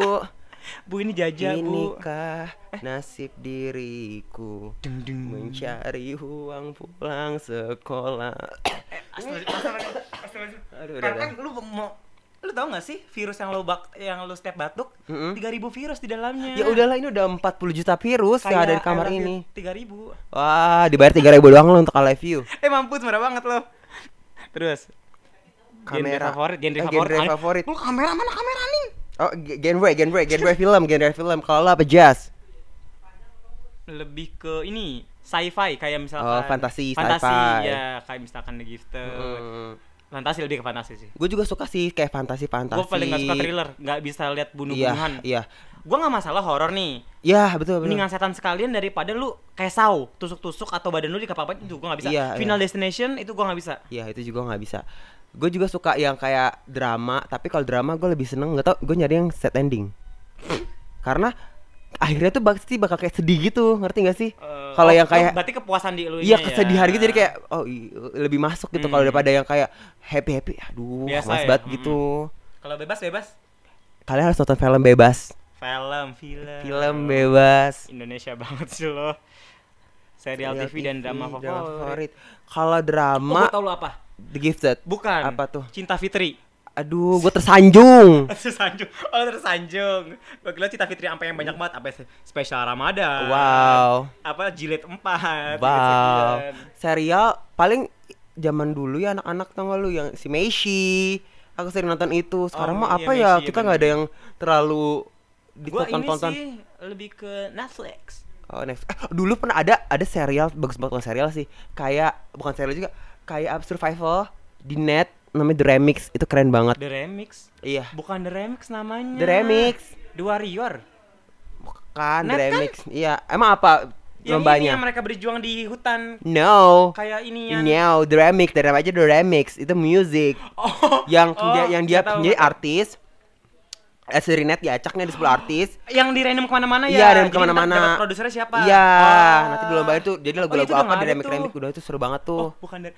bu ini Jaja Iya, bu Eh.
Inikah nasib diriku
Dung, dung.
mencari uang pulang sekolah.
Eh, Astagfirullah, astagfirullah, astagfirullah.
Aduh, udah,
Karena
udah.
kan lu mau lu tau gak sih virus yang lu bak yang lu step batuk
Mm-mm.
3000 virus di dalamnya.
Ya udahlah ini udah 40 juta virus yang ada di kamar ini.
3000.
Wah, dibayar 3000 doang lo untuk I love you.
Eh mampus murah banget lo. Terus genre
Kamera.
favorit, genre
Eh,
favorit.
genre
Aneh.
favorit.
Lu kamera mana kamera nih?
Oh, ge- genre, genre, genre film, genre film. Kalau lo apa jazz?
Lebih ke ini sci-fi kayak misalkan
Oh, fantasi,
fantasi
sci-fi.
ya kayak misalkan The Gifted. Fantasi lebih ke fantasi sih.
Gue Hmm, juga suka sih kayak fantasi-fantasi.
Gue paling gak suka thriller, gak bisa lihat bunuh-bunuhan.
Iya, iya.
Gue gak masalah horor nih,
Iya, betul, betul.
mendingan setan sekalian daripada lu kayak saw tusuk-tusuk atau badan lu dikapapain itu gua nggak bisa
Iya,
final destination itu gua nggak bisa
Iya, itu juga nggak bisa. Gue juga suka yang kayak drama, tapi kalau drama gue lebih seneng nggak tau. Gue nyari yang set ending. Karena akhirnya tuh pasti bakal kayak sedih gitu, ngerti gak sih?
Eh,
kalau
oh,
yang
lu-
kayak
berarti kepuasan di lu ya.
Iya kesedihan gitu jadi kayak oh i- lebih masuk gitu kalau daripada yang kayak happy happy aduh
Hmm. Biasa
mas
ya,
banget
mm-mm.
gitu
kalau bebas bebas
kalian harus nonton film bebas
film film
film bebas
Indonesia banget sih lo serial TV, dan drama favorit
Iya, kalau
oh,
drama
gua tau lu apa
The Gifted
bukan
Apa tuh?
Cinta Fitri
aduh gue tersanjung
tersanjung oh tersanjung gua kira Cinta Fitri sampai yang banyak banget apa spesial Ramadan
wow
apa jilid 4
wow serial paling zaman dulu ya anak-anak tau gak lu yang si Meshi aku sering nonton itu sekarang
Oh,
mah
iya,
apa
Meisy,
ya
iya
kita nggak ada yang terlalu
gue ini
ditonton-tonton
sih lebih ke Netflix
Oh, Netflix. Eh, dulu pernah ada ada serial bagus banget kalau serial sih. Kayak bukan serial juga, kayak apa, survival di net namanya The Remix. Itu keren banget.
The Remix
Iya.
bukan The Remix namanya
The Remix.
The Warrior
Bukan The
Net kan?
Remix. Iya. Emang apa
yang ini yang
lombanya?
mereka berjuang di hutan
No.
kayak ini yang
No, The Remix, The Remix aja The Remix. Itu music.
oh,
Yang
oh,
dia yang dia
nggak tahu,
jadi
nggak tahu.
artis. Eh, si Rinet diacak nih ada 10 artis.
yang di random kemana-mana ya
Iya, random
Jadi
kemana-mana.
ntar dapat produsernya siapa
Iya,
Ah.
nanti dilombain tuh jadi
Oh,
lagu-lagu
itu udah
apa
nggak
di
ada
remix
tuh.
remix gitu. udah itu seru banget
oh
tuh.
bukan dari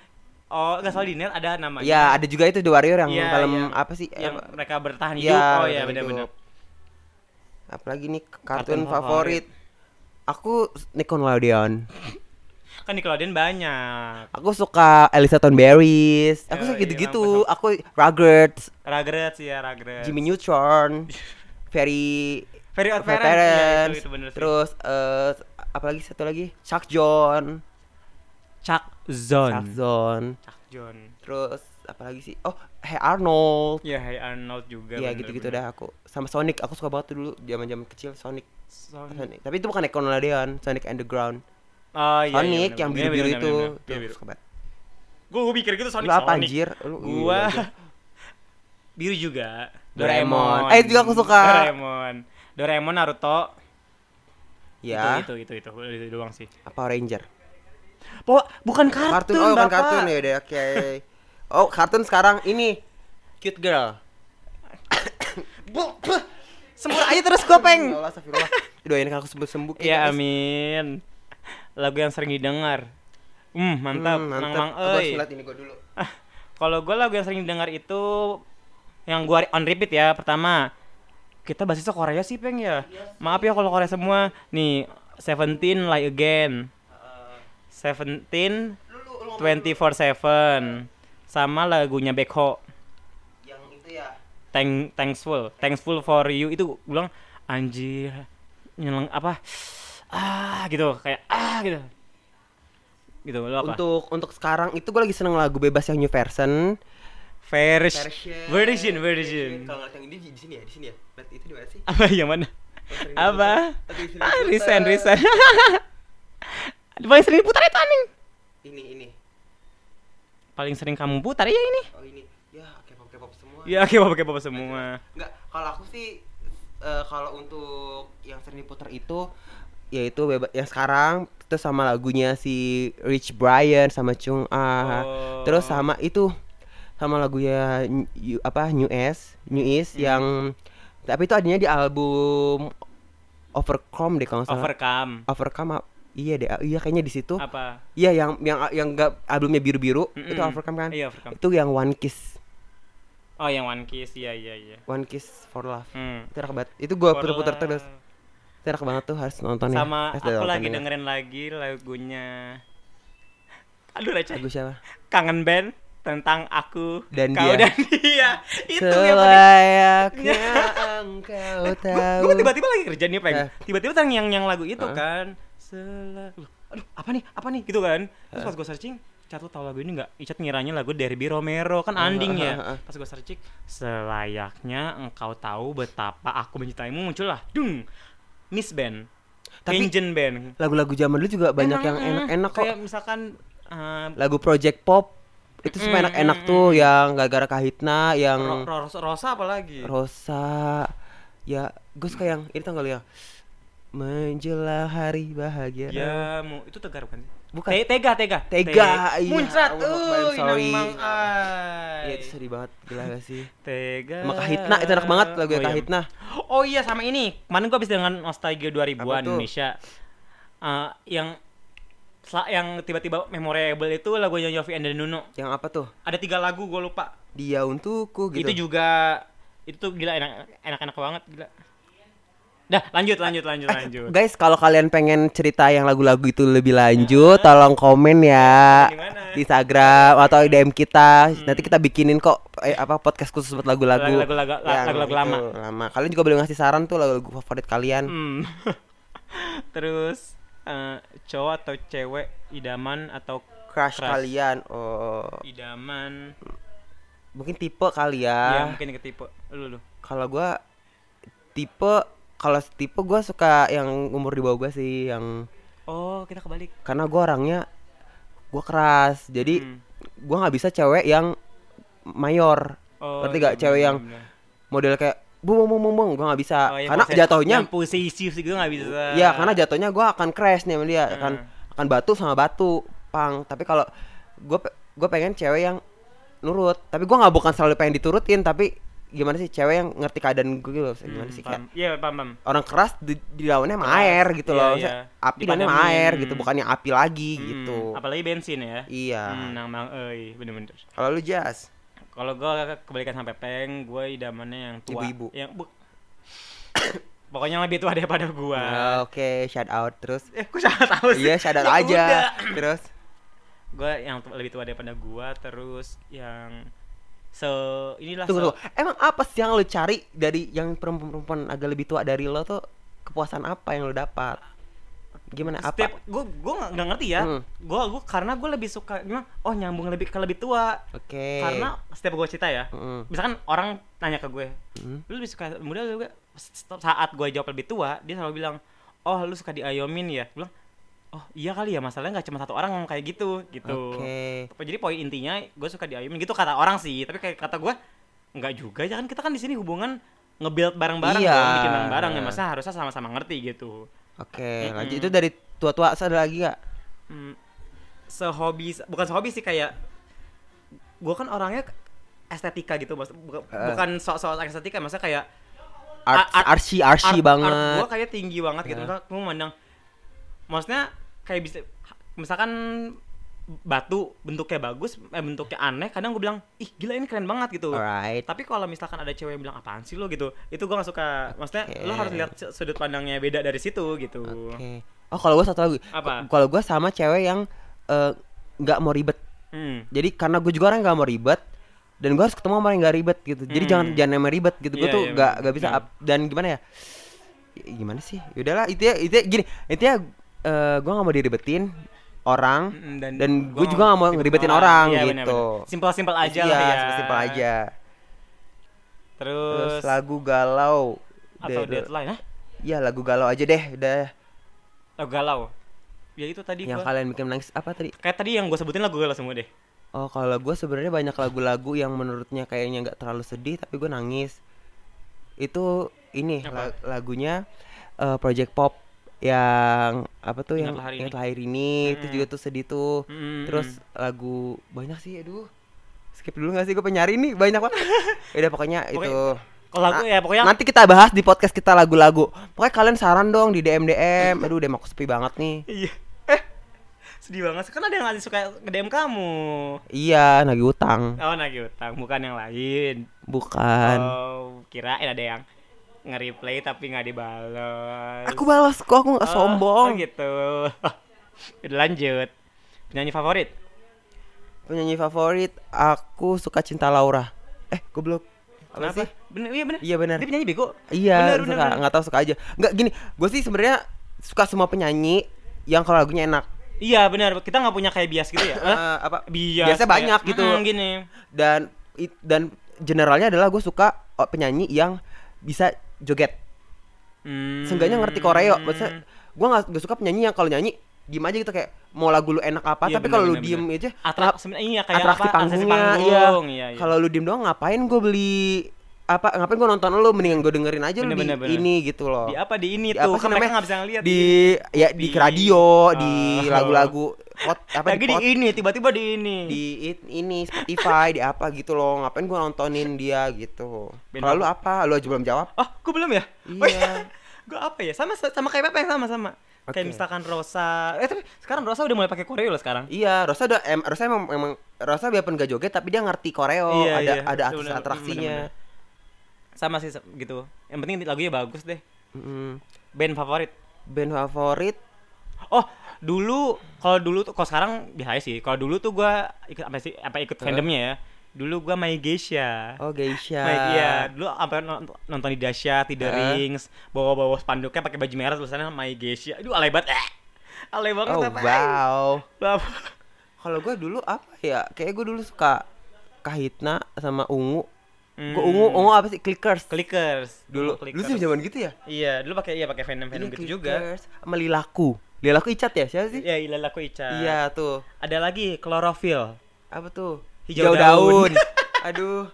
oh nggak salah di net ada namanya
Iya, ada juga itu The Warrior yang
Iya,
film
iya.
apa sih?
yang
Eh,
mereka bertahan
Iya,
hidup oh iya
bertahan
benar-benar
hidup. apalagi nih kartun,
Kartun
favorit.
favorit.
aku Nickelodeon
kan di Nickelodeon banyak
aku suka Elisa Thunberries aku
Yo,
suka
iya,
gitu-gitu aku Rugrats
Rugrats ya Rugrats
Jimmy Neutron Very
Very Odd
Fair
Parents, iya, itu-
Parents,
itu bener sih.
terus eh apalagi satu lagi Chuck John
Chuck
Chuck
Zone
John
Chuck Zone
terus apalagi sih oh Hey Arnold
Iya, Hey Arnold juga.
Iya
bener-bener.
gitu-gitu dah aku sama Sonic aku suka banget tuh dulu zaman-zaman kecil Sonic
Sonic.
Sonic tapi itu bukan Nickelodeon Sonic Underground
Oh, iya,
Sonic yang biru-biru itu Tuh, suka banget.
Gue mikir gitu Sonic.
Lu apa,
Sonic.
anjir? Lu-
gua
iya, anjir.
biru juga.
Doraemon. Eh, itu juga aku suka.
Doraemon. Doraemon Naruto.
ya
Itu itu itu itu, itu, doang sih.
apa Ranger
Po, bukan kartun,
kartun oh bukan
Bapak.
kartun ya udah oke oh kartun sekarang ini cute girl
Bu, bu, sembur aja terus gue peng.
Allah astagfirullah doain aku sembuh sembuh
ya amin. Lagu yang sering didengar. Hmm, mantap. Mang mang
aku harus
euy.
ngeliat ini gue dulu
Ah, kalau gue lagu yang sering dengar itu yang gue on repeat ya pertama kita basisnya Korea sih peng ya maaf ya kalau Korea semua nih Seventeen Lie Again Seventeen
lu, lu,
Twenty Four Seven sama lagunya Backho
yang itu ya
Thank Thankful Thankful for You itu gue bilang anjir nyeleng apa ah gitu kayak ah gitu gitu lo apa
untuk untuk sekarang itu gue lagi seneng lagu bebas yang new version
Version Version Version
kalau ngeliat yang ini di di sini ya di sini ya Lihat itu di mana sih
apa yang mana Apa?
Putri Sri
Ah,
Putra.
resign, resign. Paling sering putar itu anjing.
Ini ini.
Paling sering kamu putar ya ini.
Oh ini. Ya K-pop K-pop semua.
Ya, kebab kebab semua.
Enggak, kalau aku sih eh, kalau untuk yang sering diputar itu yaitu beba yang sekarang terus sama lagunya si Rich Brian sama Chung Ah.
Oh.
Terus sama itu sama lagunya N- Yu- apa New S, New East
Hmm.
yang tapi itu adanya di album Overcome deh kalau nggak salah.
Overcome.
Overcome ah, iya deh, ah, iya kayaknya di situ.
Apa?
Iya yang yang yang enggak albumnya biru-biru itu
Mm-mm.
Overcome kan?
Iya, overcome.
Itu yang One Kiss,
Oh, yang One Kiss. Iya, iya, iya.
One Kiss for Love.
Hmm.
Itu enak banget. Itu gua
For
puter-puter
love.
terus. Itu enak banget tuh harus nontonnya.
Sama
Harus ya.
aku lagi
nontonnya.
dengerin lagi lagunya. Aduh receh.
lagu siapa?
Kangen band tentang aku
Dan
kau
dia.
dan dia. Itu yang paling-
Selayaknya engkau tahu.
Gue tiba-tiba lagi kerja nih peng.
Eh.
Tiba-tiba tang yang yang lagu itu
Heeh.
kan. Sela- Loh, Aduh, apa nih? Apa nih? Gitu kan.
Eh.
Terus pas gue searching, Cat lu tahu lagu ini nggak? Icat ngiranya lagu Derby Romero
Eh,
kan anding
heeh,
ya.
heeh.
Pas gue searching, selayaknya engkau tahu betapa aku mencintaimu muncul lah. Dung. Miss Band.
Tapi-
Kenjen Band.
Lagu-lagu zaman dulu juga banyak
Emang,
yang
eh,
enak-enak kok.
Kayak misalkan eh,
Lagu Project Pop itu
Mm,
semua enak-enak
mm,
tuh yang gara-gara Kahitna,
Ro- iya.
yang
Ro- Rosa apa lagi?
Hmm. Rosa. Ya, gue suka yang ini tau gak lu yang menjelang hari bahagia.
Ya, mu itu tegar bukan? sih?
Iya, Bukan.
Te- tega, tega.
Tega,
Te-
iya.
Muncrat.
Allah Akbar,
Uh,
sorry.
sorry.
Iya, itu sedih banget gila gak sih?
Tega.
Sama Kahitna itu enak banget lagu
iya.
Kahitna.
Oh iya sama ini. Kemarin gua habis dengan Nostalgia
Apa
2000-an
tuh?
Indonesia. Eh, yang sel- yang tiba-tiba memorable itu lagunya Yofi and the Nuno.
Yang apa tuh?
Ada tiga lagu gua lupa.
Dia untukku gitu.
Itu juga itu tuh gila enak enak-enak banget gila. Dah, lanjut lanjut lanjut
Eh,
lanjut.
Guys, kalau kalian pengen cerita yang lagu-lagu itu lebih lanjut, tolong komen ya
Di mana?
di Instagram atau di DM kita. Nanti kita bikinin kok eh, apa podcast khusus buat lagu-lagu
Lagu-lagu- lagu-
yang
lagu-lagu
itu,
lama.
lama. Kalian juga boleh ngasih saran tuh lagu-lagu favorit kalian.
Hmm. Terus eh, cowok atau cewek idaman atau
Crush,
Crush.
kalian. Oh,
idaman
mungkin tipe kali ya.
ya mungkin ketipe lu lu.
Kalau gua tipe kalau tipe gua suka yang umur di bawah gua sih yang
Oh, kita kebalik.
karena gue orangnya gue keras jadi
Hmm.
gua gue nggak bisa cewek yang mayor
Oh,
berarti
iya,
gak cewek
bener,
yang
bener.
model kayak bung bung bung bung gue nggak bisa
Oh, yang
karena
posesif-
jatuhnya
yang posesif gitu nggak bisa.
ya karena jatuhnya gue akan crash nih sama dia akan akan batu sama batu pang tapi kalau gue gue pengen cewek yang nurut tapi gue nggak bukan selalu pengen diturutin tapi gimana sih cewek yang ngerti keadaan gue gitu loh gimana sih kayak
paham. Iya, paham, paham.
orang keras di, dilawannya sama air gitu
Iya,
loh
iya.
Maksudnya, api dan sama
Dipadamin,
air
hmm.
gitu bukannya api lagi gitu
Hmm, Apalagi bensin ya.
iya
Hmm, nang mang euy, bener-bener.
Kalau lu Jas,
Kalau gua kebalikan sampai peng, gua idamannya yang tua.
Ibu-ibu.
Yang bu- Pokoknya yang lebih tua daripada gua.
Ah, oke shout out terus.
Eh, kok salah tahu sih?
Iya shout out
Ya
aja
udah.
terus.
Gua yang tu- lebih tua daripada gua terus yang se inilah
Tunggu
se
tunggu. Emang apa sih yang lu cari dari yang perempuan-perempuan agak lebih tua dari lo tuh kepuasan apa yang lu dapat? Gimana
setiap
Nah, apa?
gua gua nggak- nggak ngerti ya.
Hmm.
Gua gua karena gua lebih suka emang, oh nyambung lebih ke lebih tua.
Oke.
Karena setiap gua cerita ya,
Mm-mm.
misalkan orang nanya ke gue,
Mm.
lu lebih suka muda juga saat gue jawab lebih tua dia selalu bilang oh lu suka diayomin ya Gue bilang oh iya kali ya masalahnya nggak cuma satu orang yang kayak gitu gitu
Oke.
jadi poin intinya gue suka diayomin gitu kata orang sih tapi kayak kata gue nggak juga ya kan kita kan di sini hubungan nge-build bareng-bareng
Iya.
dong, bikin bareng-bareng ya masa harusnya sama-sama ngerti gitu
Oke, lanjut itu dari tua-tua ada lagi gak?
hmm, sehobi bukan sehobi sih kayak gue kan orangnya estetika gitu Mas. Bukan-
Eh.
bukan soal-soal estetika maksudnya kayak
Art,
Art-
arsi arsi
art-
banget.
art gua kayak tinggi banget gitu
Ya.
misalnya gua mandang maksudnya kayak bisa misalkan batu bentuknya bagus eh, bentuknya aneh kadang gue bilang ih gila ini keren banget gitu
Alright.
tapi kalau misalkan ada cewek yang bilang apaan sih lo gitu itu gua gak suka maksudnya lo
Oke.
harus lihat su- sudut pandangnya beda dari situ gitu
Oke. Oh kalau gue satu lagi.
Apa?
Kalau gue sama cewek yang eh, nggak mau ribet
Hmm.
jadi karena gue juga orang yang gak mau ribet dan gue harus ketemu sama orang yang gak ribet gitu jadi
Hmm.
jangan jangan emang ribet gitu gue
Iya,
tuh
iya,
gak
bener.
gak bisa
Bener.
up- dan gimana ya Ya, gimana sih yaudahlah itu ya itu gini itu ya gue gak mau diribetin orang
Mm-mm,
dan,
gua
gue juga gak mau ngeribetin orang
Iya,
gitu
benar-benar. simpel-simpel aja
Iya,
lah ya
simpel aja
terus,
terus lagu galau
atau
dari-
deadline Hah?
ya lagu galau aja deh udah
Lagu galau. Ya itu tadi
yang
gua-
kalian bikin menangis apa tadi
kayak tadi yang gue sebutin lagu galau semua deh.
oh kalau gue sebenarnya banyak lagu-lagu yang menurutnya kayaknya nggak terlalu sedih tapi gue nangis itu ini
Apa?
la- lagunya eh, Project Pop yang apa tuh yang
Ingatlah Hari Ini.
Ingatlah hari ini itu
Hmm.
juga tuh sedih tuh
Mm,
Terus lagu banyak sih, aduh. Skip dulu gak sih gue penyari nih banyak banget. Udah pokoknya
Pokoknya-
itu. Ah,
Kalau lagu ya pokoknya
Nanti kita bahas di podcast kita lagu-lagu. Pokoknya kalian saran dong di DM DM. Aduh, DM aku sepi banget nih.
Iya. Eh. Sedih banget. Kan ada yang ngasih suka DM kamu.
Iya, nagih utang.
Oh, nagih utang, bukan yang lain.
Bukan.
Oh, kirain ada yang nge-replay tapi nggak dibalas.
Aku balas kok, aku gak
Oh,
sombong.
oh gitu. Udah lanjut. Penyanyi favorit?
Penyanyi favorit aku suka Cinta Laura. Eh, goblok. Apa
Kenapa?
sih?
Bener, iya bener.
Iya benar.
Dia penyanyi bego.
Iya,
Bener, bener,
suka
bener.
nggak tahu suka aja. Nggak gini, gue sih sebenarnya suka semua penyanyi yang kalau lagunya enak.
Iya bener. Kita nggak punya kayak bias gitu ya. Eh,
Eh, apa?
bias.
Biasanya
kayak,
banyak gitu.
mm, gini.
dan it- dan generalnya adalah gue suka oh, penyanyi yang bisa joget
Hmm.
seenggaknya ngerti koreo maksudnya gue nggak nggak suka penyanyi yang kalau nyanyi diem aja gitu kayak mau lagu lu enak apa
Iya,
tapi
bener,
kalau lu
bener,
diem aja ngap-
Atraksi, iya
atraksi
kayak apa? Atraksi
panggungnya,
panggung,
iya.
iya, iya.
kalau lu diem doang ngapain gue beli apa ngapain gue nonton lu mendingan gue dengerin aja lu
Bener,
di
bener, bener.
ini gitu loh
di apa di ini
Di
tuh
apa sih
kan mereka
namanya?
nggak bisa ngeliat
di ya di,
Di-
radio di
Oh.
lagu-lagu pot apa
lagi
di
di
pot-
ini tiba-tiba di ini
di it- ini Spotify di apa gitu loh ngapain gua nontonin dia gitu
Ben
kalau lu apa lu aja belum jawab
oh gue belum ya
Iya.
Oh, gue apa ya sama sama kayak apa yang sama sama kayak
Oke.
misalkan Rosa eh tapi sekarang Rosa udah mulai pakai koreo loh sekarang
iya Rosa udah em Rosa emang, emang Rosa biarpun gak joget tapi dia ngerti koreo
Iya,
ada
iya.
ada
Bener,
atraksi atraksinya
bener, sama sih se- gitu yang penting lagunya bagus deh
Mm-mm.
band favorit
band favorit
oh dulu kalau dulu tuh kalau sekarang biasa sih kalau dulu tuh gue ikut apa sih apa ikut fandomnya ya dulu gue My Geisha
oh Geisha
My- iya, dulu sampai nont- nonton di Dahsyat, di The
Heeh.
Rings, bawa-bawa spanduknya pakai baju merah tulisannya My Geisha. Aduh, alay banget. Eh. Alay banget
oh
apa?
wow
Apa?
kalau gua dulu apa ya kayak gua dulu suka Kahitna sama Ungu Gua
Hmm.
Ungu Ungu apa sih Clickers
Clickers.
dulu lu
Clickers.
sih zaman gitu ya
Iya, dulu pakai iya pakai fandom-fandom
Ini
gitu juga.
Clickers sama Lilaku Lilaku Icat ya siapa sih
Ya, iya laku Ica.
iya tuh
Ada lagi klorofil.
apa tuh
Hijau daun.
aduh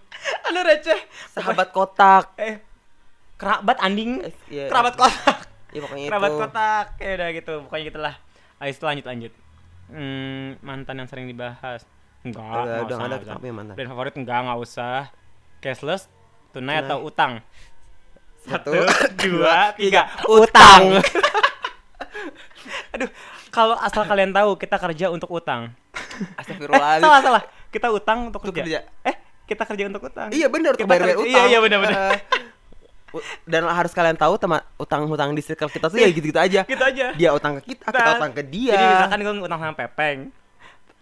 Aduh receh.
sahabat kotak
Eh kerabat anding.
Eh, iya,
kerabat
iya.
kotak.
ya pokoknya
kerabat
itu
kotak. Ya udah gitu, pokoknya gitu lah. Ayo setelah lanjut lanjut. Hmm, mantan yang sering dibahas. Enggak,
Udah,
nggak
udah
usah,
ada
nggak usah.
kenapa ya mantan
Brand favorit enggak, enggak usah. Cashless, tunai
Tunai.
atau utang?
Satu,
dua, tiga.
utang
Aduh, kalau asal kalian tahu kita kerja untuk utang. Eh,
astagfirullahaladzim
salah salah. Kita utang untuk
Untuk
kerja.
kerja.
Eh, kita kerja untuk utang.
iya bener untuk
Kita
bayar
kerja-
utang
Iya, iya benar-benar.
Eh, u- dan harus kalian tahu teman utang-utang di circle kita tuh ya gitu-gitu aja
gitu aja.
dia utang ke kita kita
Nah,
utang ke
Jadi
dia
misalkan gue utang sama Pepeng.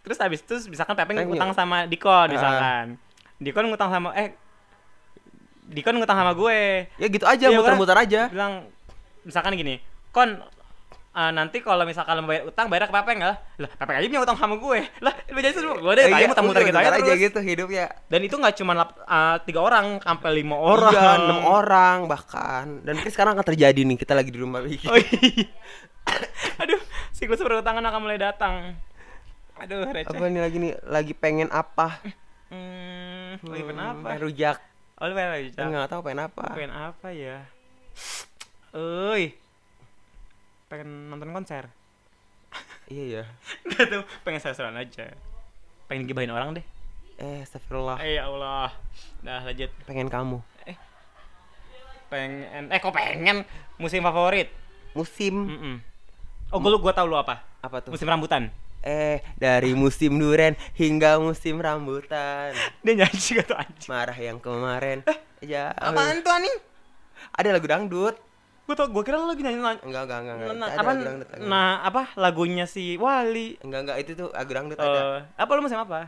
Terus habis itu misalkan Pepeng
Pepeng
utang
ya?
sama Dikon
Ah.
misalkan. Dikon ngutang sama eh Dikon ngutang sama gue.
ya gitu aja
Iya, kan?
muter-muter aja
Bilang misalkan gini, "Kon eh, nanti kalau misalkan mau bayar utang bayar ke Pepeng lah. Lah, Pepeng aja punya utang sama gue. Lah, itu jadi semua. Gue deh,
Eh,
tanya
iya,
muter-muter gitu aja terus.
gitu hidupnya
Dan itu nggak cuma lap- eh, tiga orang, sampai lima orang.
orang iya, enam orang bahkan dan mungkin sekarang akan terjadi nih kita lagi di rumah bikin
Oh, iya. Aduh, siklus perutangan akan mulai datang. Aduh, receh.
apa nih lagi nih lagi pengen apa
Hmm, lagi pengen
Hmm,
apa?
pengen rujak
Oh, lu pengen lagi
nggak tahu pengen apa
Pengen apa ya? Euy. Pengen nonton konser.
iya iya
Gak tau, pengen seru aja. Pengen gibahin orang deh.
eh astagfirullah
Eh, ya Allah. Dah, lanjut.
pengen kamu
Pengen eh kok pengen musim favorit?
musim
Mm-mm. Oh, gua lu gua tahu lu apa?
apa tuh
Musim rambutan.
eh dari musim duren hingga musim rambutan
Dia nyanyi gitu anjing.
marah yang kemarin ya
Eh, Apaan tuh anjing?
ada lagu dangdut
Gua tau, gua kira lu lagi nyanyi nyanyi-
enggak enggak enggak enggak
Nah,
ada
apa,
lagu dangdut lagu dangdut.
nah apa lagunya si Wali
enggak enggak itu tuh lagu dangdut ada
Eh, apa lu musim apa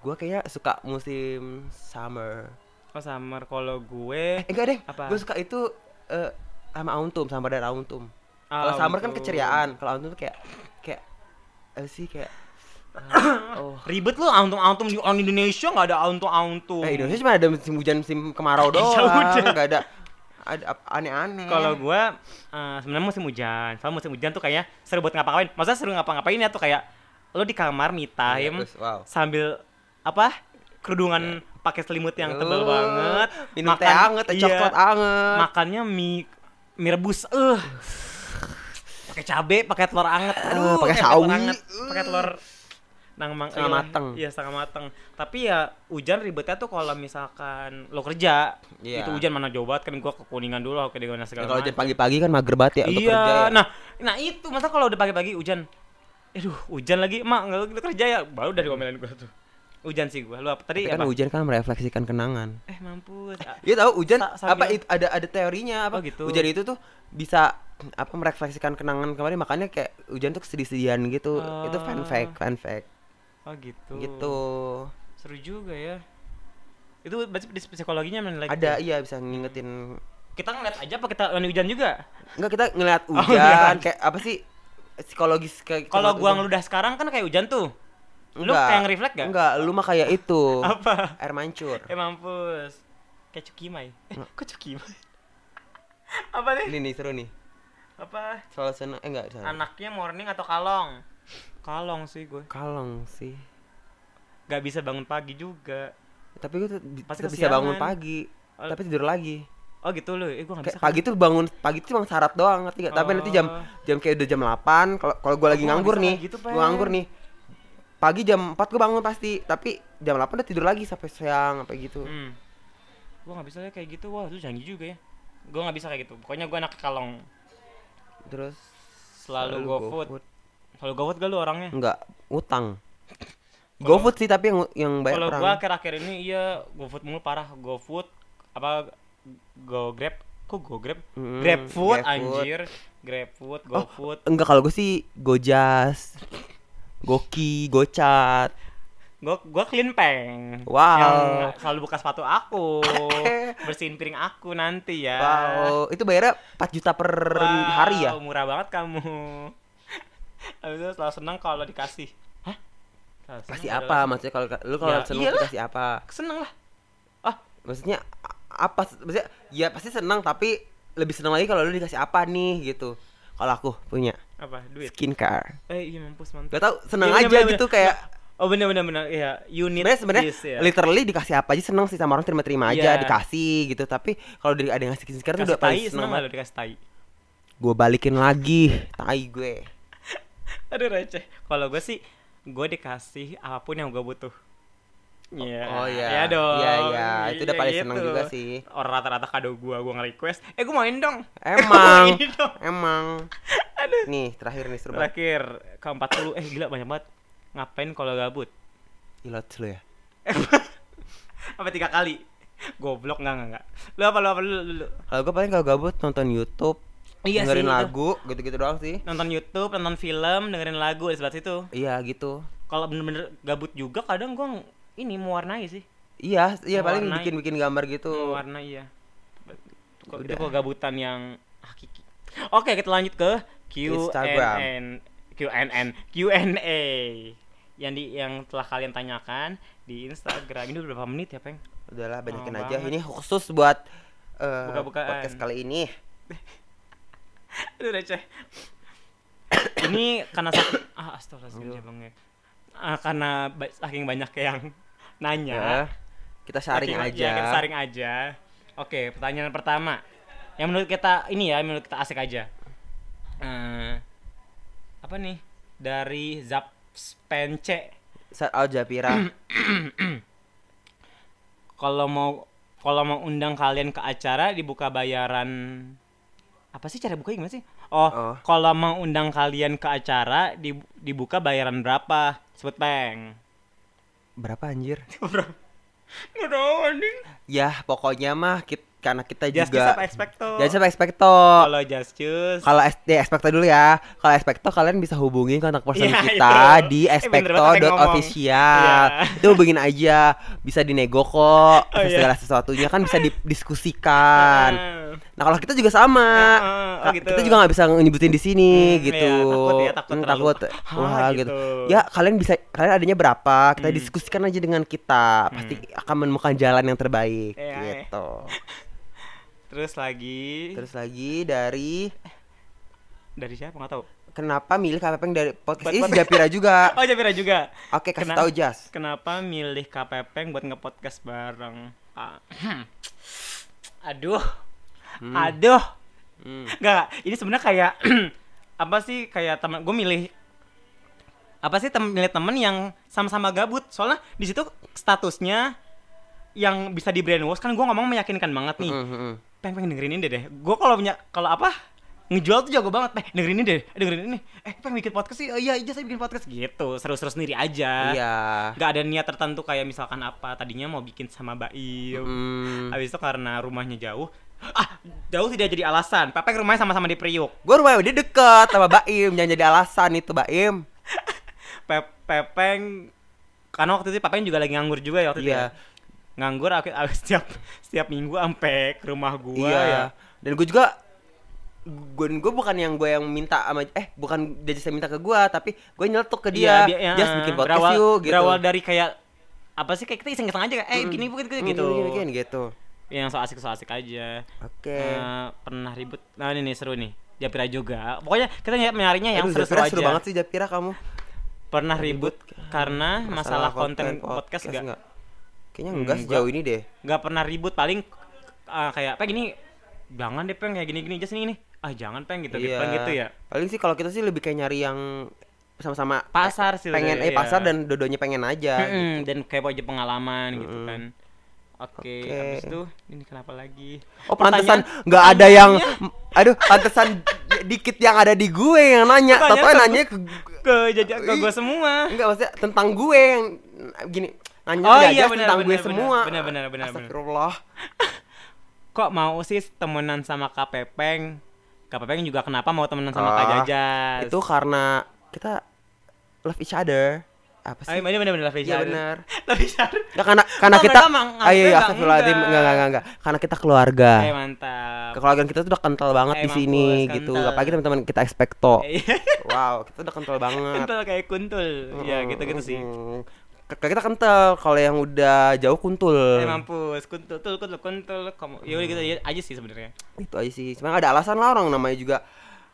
gue kayaknya suka musim summer
oh summer kalau gue
eh enggak deh
Apa?
gue suka itu eh, sama auntum sama dan auntum
Ah,
kalau summer kan
untuk-
keceriaan kalau auntum tuh kayak kayak apa sih kayak oh
eh, ribet lu auntum auntum di orang Indonesia nggak ada auntum auntum
Eh Indonesia cuma ada musim hujan musim kemarau
Ya
doang,
udah.
nggak ada ada ap- aneh-aneh.
Kalau gua eh, sebenarnya musim hujan. Soalnya musim hujan tuh kayaknya seru buat ngapa-ngapain. Maksudnya seru ngapa-ngapain ya tuh kayak lo di kamar me
Iya,
time
terus, wow.
sambil apa? kerudungan pakai selimut yang
Eh,
tebal banget,
minum teh anget, teh
iya,
coklat anget.
makannya mie mie rebus eh pakai cabe pakai telur anget aduh
pakai
telur
sawi.
anget, pakai telur nang mang
Setengah
iyalah.
mateng.
iya setengah mateng tapi ya hujan ribetnya tuh kalau misalkan lo kerja
Iya.
itu hujan mana jauh banget kan gua ke kuningan dulu ke
Ya,
Degona segala
kalau
macam.
jam pagi-pagi kan mager banget ya untuk
iya
kerja ya.
nah nah itu masa kalau udah pagi-pagi hujan aduh hujan lagi mak nggak lu kerja ya baru dari diomelin gua tuh hujan sih gua lu apa tadi
Tapi kan
apa
hujan kan merefleksikan kenangan.
eh mampus Ah,
Iya tahu hujan
Sa-
apa
sambil-
itu ada ada teorinya apa
Oh, gitu.
Hujan itu tuh bisa apa merefleksikan kenangan kemarin makanya kayak hujan tuh kesedihan gitu. Itu fan
Ah.
fact, fan fact.
oh gitu
Gitu.
Seru juga ya. Itu berarti di psikologinya main lagi.
Ada iya bisa ngingetin
Kita ngeliat aja apa kita mandi hujan juga?
Enggak kita ngeliat
Oh,
hujan kayak apa sih psikologis kayak
Kalau
ngeliat
gua
hujan.
ngeludah sekarang kan kayak hujan tuh. Lu
Enggak.
kayak nge-reflect gak?
Enggak, lu mah kayak itu.
Apa?
Air mancur.
Eh mampus. Kayak cukimai. Eh, kok cukimai? apa nih?
Ini nih seru nih.
Apa?
Soal sana eh enggak sana.
Anaknya morning atau kalong? Kalong sih gue.
Kalong sih.
Gak bisa bangun pagi juga.
Tapi gue tuh bi-
Pasti
tetap bisa bangun
kesiangan.
pagi, tapi tidur lagi.
Oh gitu lu. Eh gua gak
Kayak
bisa.
pagi tuh bangun pagi tuh cuma syarat doang ngerti gak? Tapi nanti jam
Oh.
jam kayak udah jam 8 kalau kalau gue lagi
Aku nggak
nganggur
bisa
nih,
kayak gitu,
gue nganggur
Pen.
nih. Pagi jam 4 gue bangun pasti, tapi jam 8 udah tidur lagi sampai siang apa gitu.
Hmm. Gua gak bisa deh kayak gitu. Wah, lu janji juga ya. Gua gak bisa kayak gitu. Pokoknya gua anak kalong.
Terus
Selalu, go food. Kalau gawat gak lu orangnya?
Enggak, utang. GoFood sih tapi yang yang bayar
Kalau
orang.
gua akhir-akhir ini iya GoFood mulu parah, GoFood apa Go Grab, kok Go Grab?
Hmm, GrabFood.
GrabFood
Oh.
anjir, GrabFood, GoFood.
Enggak kalau gue sih Gojas, Goki, Gocat.
Gua gua clean peng.
Wow.
Yang selalu buka sepatu aku, bersihin piring aku nanti ya.
Wow, itu bayarnya 4 juta per
Wow,
hari ya.
Murah banget kamu. Habis itu selalu senang kalau dikasih. Hah? Selalu senang
Kasih
kalau
apa maksudnya kalau lu kalau
Ya,
seneng
iyalah.
tuh kasih apa?
dikasih. Seneng lah. Ah,
Maksudnya a- apa? Maksudnya ya pasti senang tapi lebih senang lagi kalau lu dikasih apa nih gitu. Kalau aku punya
apa? Duit.
skincare.
Eh, iya mampus mantap.
Gak tau, senang
Iya,
aja
bener-bener.
gitu kayak
Oh bener bener bener iya you need
sebenarnya sebenarnya
this, ya.
literally dikasih apa aja seneng sih sama orang terima-terima aja
Iya.
dikasih gitu tapi kalau dari ada yang ngasih skincare tuh
Kasih
udah
tai
paling seneng
seneng
banget.
gak lu dikasih tai
gue balikin lagi tai gue
Aduh receh Kalau gue sih Gue dikasih apapun yang gue butuh Iya
oh, iya.
Iya dong
Iya, iya. Itu udah
Iya,
paling seneng juga sih.
Orang rata-rata kado gue Gue nge-request Eh gue main dong
emang
Ini Iya dong.
emang
Aduh
nih terakhir nih seru banget
Terakhir Ke 40 Eh gila banyak banget Ngapain kalau gabut
ilot lu ya
Apa tiga kali Goblok nggak nggak nggak Lu apa lu apa lu, lu, lu.
kalau gue paling kalau gabut nonton YouTube
Iya sih,
dengerin
itu.
lagu gitu-gitu doang sih
Nonton Youtube Nonton film Dengerin lagu Di sebelah situ
iya gitu
Kalau bener-bener gabut juga Kadang gue Ini mewarnai sih
iya iya paling
Mewarnai.
bikin-bikin gambar gitu
warna iya Kok- itu kegabutan yang hakiki oke kita lanjut ke QNN
Instagram.
QNN Q&A yang di yang telah kalian tanyakan di Instagram ini udah berapa menit ya peng
udahlah banyakin
Oh,
aja
banget.
ini khusus buat eh,
Buka-bukaan.
podcast kali ini
aduh receh ini karena sakit ah astagfirullahaladzim Bang, ya. Ah, karena ba- saking banyak yang nanya
ya kita saring
Oke,
aja
ya, kita saring aja. Oke, pertanyaan pertama. Yang menurut kita ini ya, menurut kita asik aja. Eh, apa nih? Dari Zap Spence.
Saat Al Japira
Kalau mau kalau mau undang kalian ke acara dibuka bayaran apa sih cara buka gimana sih? Oh,
Oh.
kalau mau undang kalian ke acara di- dibuka bayaran berapa? Sebut peng.
berapa anjir
Nggak tahu anjing.
ya pokoknya mah kit- karena kita
Just
juga
apa expecto?
Jadi sama Expecto.
Kalau just choose.
Kalau S- di Expecto dulu ya. Kalau Expecto kalian bisa hubungi kontak person
Iya,
kita
itu.
di
Eh, bener banget tadi ngomong.
expecto.official.
Iya.
Itu hubungin aja, bisa dinego kok. Terus
iya.
Segala sesuatunya kan bisa didiskusikan.
Ah.
Nah, kalau kita juga sama.
Heeh, oh
Nah,
gitu.
Kita juga nggak bisa nyebutin di sini
Hmm,
gitu.
iya, takut ya, takut
Hmm,
terlalu- Hah,
Wah, gitu.
gitu. Hmm.
Ya, kalian bisa kalian adanya berapa? Kita diskusikan aja dengan kita. Pasti akan menemukan jalan yang terbaik
Iya, iya.
gitu.
Terus lagi
Terus lagi dari
dari siapa nggak tahu.
kenapa milih KPPeng dari podcast
Buat-
ini
buat-
si Japira juga.
Oh Japira juga.
Ah. Oke, kasih
Kena-
tahu Jas.
Kenapa milih KPPeng buat ngepodcast bareng? Ah, Aduh.
Hmm.
Aduh. Enggak, ini sebenarnya kayak apa sih kayak teman gue milih apa sih tem milih temen yang sama-sama gabut. Soalnya di situ statusnya yang bisa di brainwash kan gue ngomong meyakinkan banget nih.
Mm, mm, mm.
Peng peng dengerin ini deh. Gue kalau punya kalau apa ngejual tuh jago banget. Peng dengerin ini deh, dengerin ini. Eh peng bikin podcast sih. Oh, iya aja saya bikin podcast gitu. Seru-seru sendiri aja.
Iya.
Gak ada niat tertentu kayak misalkan apa tadinya mau bikin sama Baim.
Mm.
Habis itu karena rumahnya jauh. Ah, jauh tidak jadi alasan. Pepeng rumahnya sama-sama di Priuk.
Gue rumah dia deket sama Baim, jangan jadi alasan itu Baim.
Pe- Pepeng karena waktu itu Pepeng juga lagi nganggur juga ya waktu itu.
Iya.
ya. Nganggur aku, aku setiap setiap minggu sampai ke rumah gua
iya.
ya.
Dan gue juga gue gue bukan yang gue yang minta sama eh bukan dia yang minta ke gue tapi gue nyeletuk ke dia,
Iya,
Jas
eh,
bikin podcast
berawal,
yuk gitu
Berawal dari kayak apa sih kayak kita iseng-iseng aja kayak eh gini bukan
Mm,
gitu.
gini, gini, gini, gitu
Yang so asik so asik aja.
oke
Eh, pernah ribut. Nah, ini nih seru nih. Japira juga. Pokoknya kita nyari- nyarinya yang
Aduh, Zafira,
seru-seru aja.
seru banget kan. sih Japira kamu
Pernah ribut karena masalah, konten, podcast, nggak
nggak? kayaknya enggak
Hmm,
sejauh ini deh
nggak pernah ribut paling eh, kayak apa gini jangan deh peng kayak gini gini just ini nih ah jangan peng gitu
Iya.
gitu Peng, gitu ya
paling sih kalau kita sih lebih kayak nyari yang sama-sama
pasar sih
pengen
udah,
eh
iya.
pasar dan dodonya pengen aja
Mm-mm, dan kayak aja pengalaman gitu kan oke
Oke.
habis itu ini kenapa lagi
oh pantesan nggak ada
pertanyaannya-
yang aduh pantesan dikit yang ada di gue yang nanya
Pertanyaan
Tatoan
ke-
nanya ke
ke jajan ke
Ih.
gue semua
Enggak maksudnya tentang gue yang gini nanya
Oh,
ke
iya,
Jajas
benar,
tentang gue
benar,
semua.
benar, benar, benar, benar.
Astagfirullah.
kok mau sih temenan sama kak pepeng kak pepeng juga kenapa mau temenan sama kak
Ah,
jajas
Itu karena kita love each other. Apa sih?
Ayo, bener bener bener lah
Iya benar.
tapi Syar-
Enggak karena karena
Oh,
kita
mereka emang
Ah, iya, iya,
nganggapnya
astagfirullahaladzim.
enggak.
Enggak, enggak, enggak, enggak. Karena kita keluarga.
eh mantap
Kekeluargaan kita tuh udah kental banget
Eh,
di sini
mampus,
gitu.
kental.
Apalagi teman-teman kita ekspekto.
Eh,
Wow, kita udah kental banget.
kental kayak kuntul ya gitu gitu sih
Mm, Kakak kita kental, kalau yang udah jauh kuntul.
Eh mampus, kuntul, kuntul, kuntul, kuntul. Kamu, ya udah gitu aja sih sebenarnya.
Itu Gitu aja sih. Sebenarnya nggak ada alasan lah orang namanya juga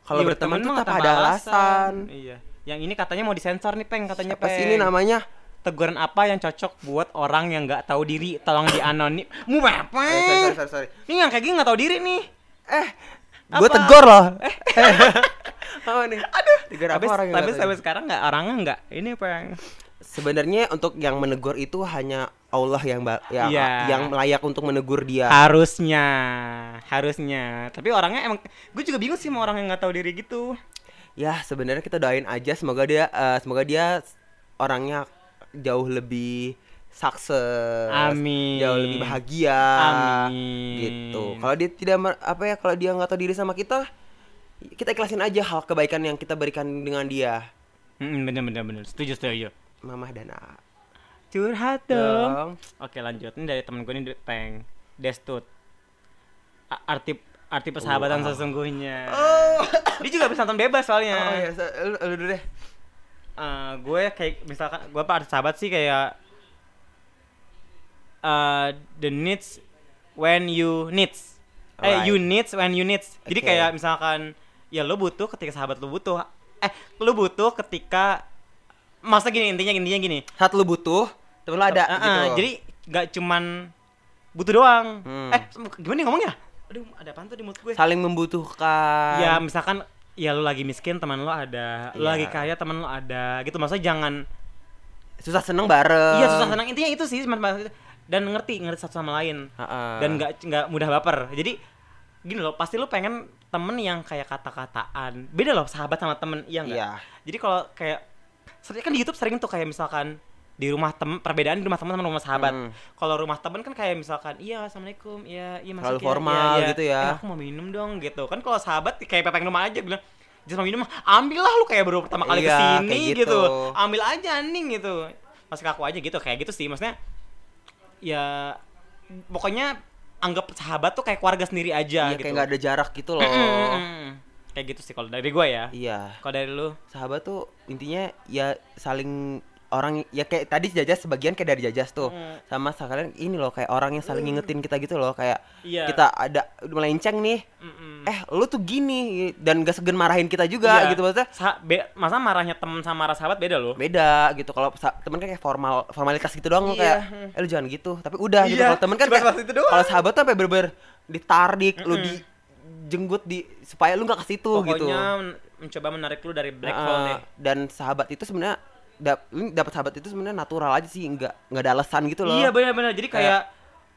kalau
Iya,
berteman tuh
mah
tanpa
tanpa
ada alasan.
Iya. ya. Yang ini katanya mau disensor nih, Peng, katanya
Apa
Peng.
sih ini namanya?
Teguran apa yang cocok buat orang yang nggak tahu diri? Tolong dianonim. Mu apa?
Eh, sorry, sorry, sorry, sorry.
Ini yang kayak gini nggak tahu diri nih.
Eh, gue
Apa?
tegur loh. Eh, apa nih? Aduh. Tegur apa
Tapi
orang yang
tapi
nggak tahu?
sampai sekarang nggak orangnya nggak ini Peng.
Sebenarnya untuk yang menegur itu hanya Allah yang ba- yang,
Iya.
yang layak untuk menegur dia.
Harusnya, harusnya. Tapi orangnya emang, gue juga bingung sih sama orang yang nggak tahu diri gitu.
Ya, sebenarnya kita doain aja semoga dia eh, semoga dia orangnya jauh lebih sukses.
Amin.
Jauh lebih bahagia.
Amin.
Gitu. Kalau dia tidak mer- apa ya kalau dia nggak tahu diri sama kita kita ikhlasin aja hal kebaikan yang kita berikan dengan dia.
Mm, bener bener bener. Setuju setuju.
Mamah dan A.
Curhat dong. Oke lanjut ini dari temen gue ini dari Peng Destut A- arti
Oh,
arti persahabatan
ah.
sesungguhnya dia juga bisa nonton bebas soalnya
Oh ya, lu, lu dulu deh.
Eh, gue kayak misalkan gue apa arti sahabat sih kayak eh the needs when you needs eh
Alright.
you needs when you needs jadi
Oke.
kayak misalkan ya lo butuh ketika sahabat lo butuh eh lo butuh ketika masa gini intinya intinya gini
Saat lu butuh, temen lu ada
Eh, eh,
gitu.
Jadi nggak cuman butuh doang.
Hmm.
Eh, sem- gimana nih ngomongnya? Aduh, ada apaan tuh di mulut gue?
saling membutuhkan.
Ya, misalkan ya lu lagi miskin teman lu ada, lu
Iya.
lagi kaya teman lu ada. Gitu maksudnya jangan
Susah seneng bareng.
iya susah senang intinya itu sih teman-teman. dan ngerti ngerti satu sama lain.
Ha-ha.
Dan nggak nggak mudah baper. Jadi gini loh, pasti lu pengen temen yang kayak kata-kataan. Beda loh sahabat sama temen, iya nggak?
Iya.
Jadi kalau kayak sering kan di YouTube sering tuh kayak misalkan di rumah tem perbedaan di rumah teman sama rumah sahabat.
Mm.
Kalau rumah teman kan kayak misalkan iya assalamualaikum, iya iya
Terlalu
masuk ya,
formal
iya, iya.
gitu ya.
Eh, aku mau minum dong gitu. Kan kalau sahabat kayak pepeng rumah aja bilang Jas mau minum, ambil lah lu kayak baru pertama kali
Iya,
kesini
kayak
gitu.
gitu.
Ambil aja anjing gitu. Masuk aku aja gitu kayak gitu sih maksudnya. Ya pokoknya anggap sahabat tuh kayak keluarga sendiri aja
Iya,
gitu.
kayak nggak ada jarak gitu loh.
Mm-mm. Kayak gitu sih kalau dari gue ya.
iya.
Kalau dari lu?
Sahabat tuh intinya ya saling orang ya kayak tadi jajas sebagian kayak dari jajas tuh
Hmm.
sama sekalian ini loh kayak orang yang saling ngingetin kita gitu loh kayak
Iya.
kita ada melenceng nih
Mm-mm.
eh lu tuh gini dan gak segan marahin kita juga
Iya.
gitu maksudnya
Sa- be- masa marahnya teman sama marah sahabat beda loh.
beda gitu kalau sa- temen kan kayak formal formalitas gitu doang lu kayak eh lu jangan gitu tapi udah gitu
Iya,
kalau temen kan
cuma
kayak-
sebatas itu doang.
kalau sahabat tuh sampai berber ditarik lu di jenggut di supaya lu nggak ke situ gitu Ah,
Pokoknya men- mencoba menarik lu dari black hole
Heeh,
deh.
Eh, dan sahabat itu sebenarnya dap- lu dapat sahabat itu sebenarnya natural aja sih nggak nggak ada alasan gitu loh
Iya benar-benar. Jadi kayak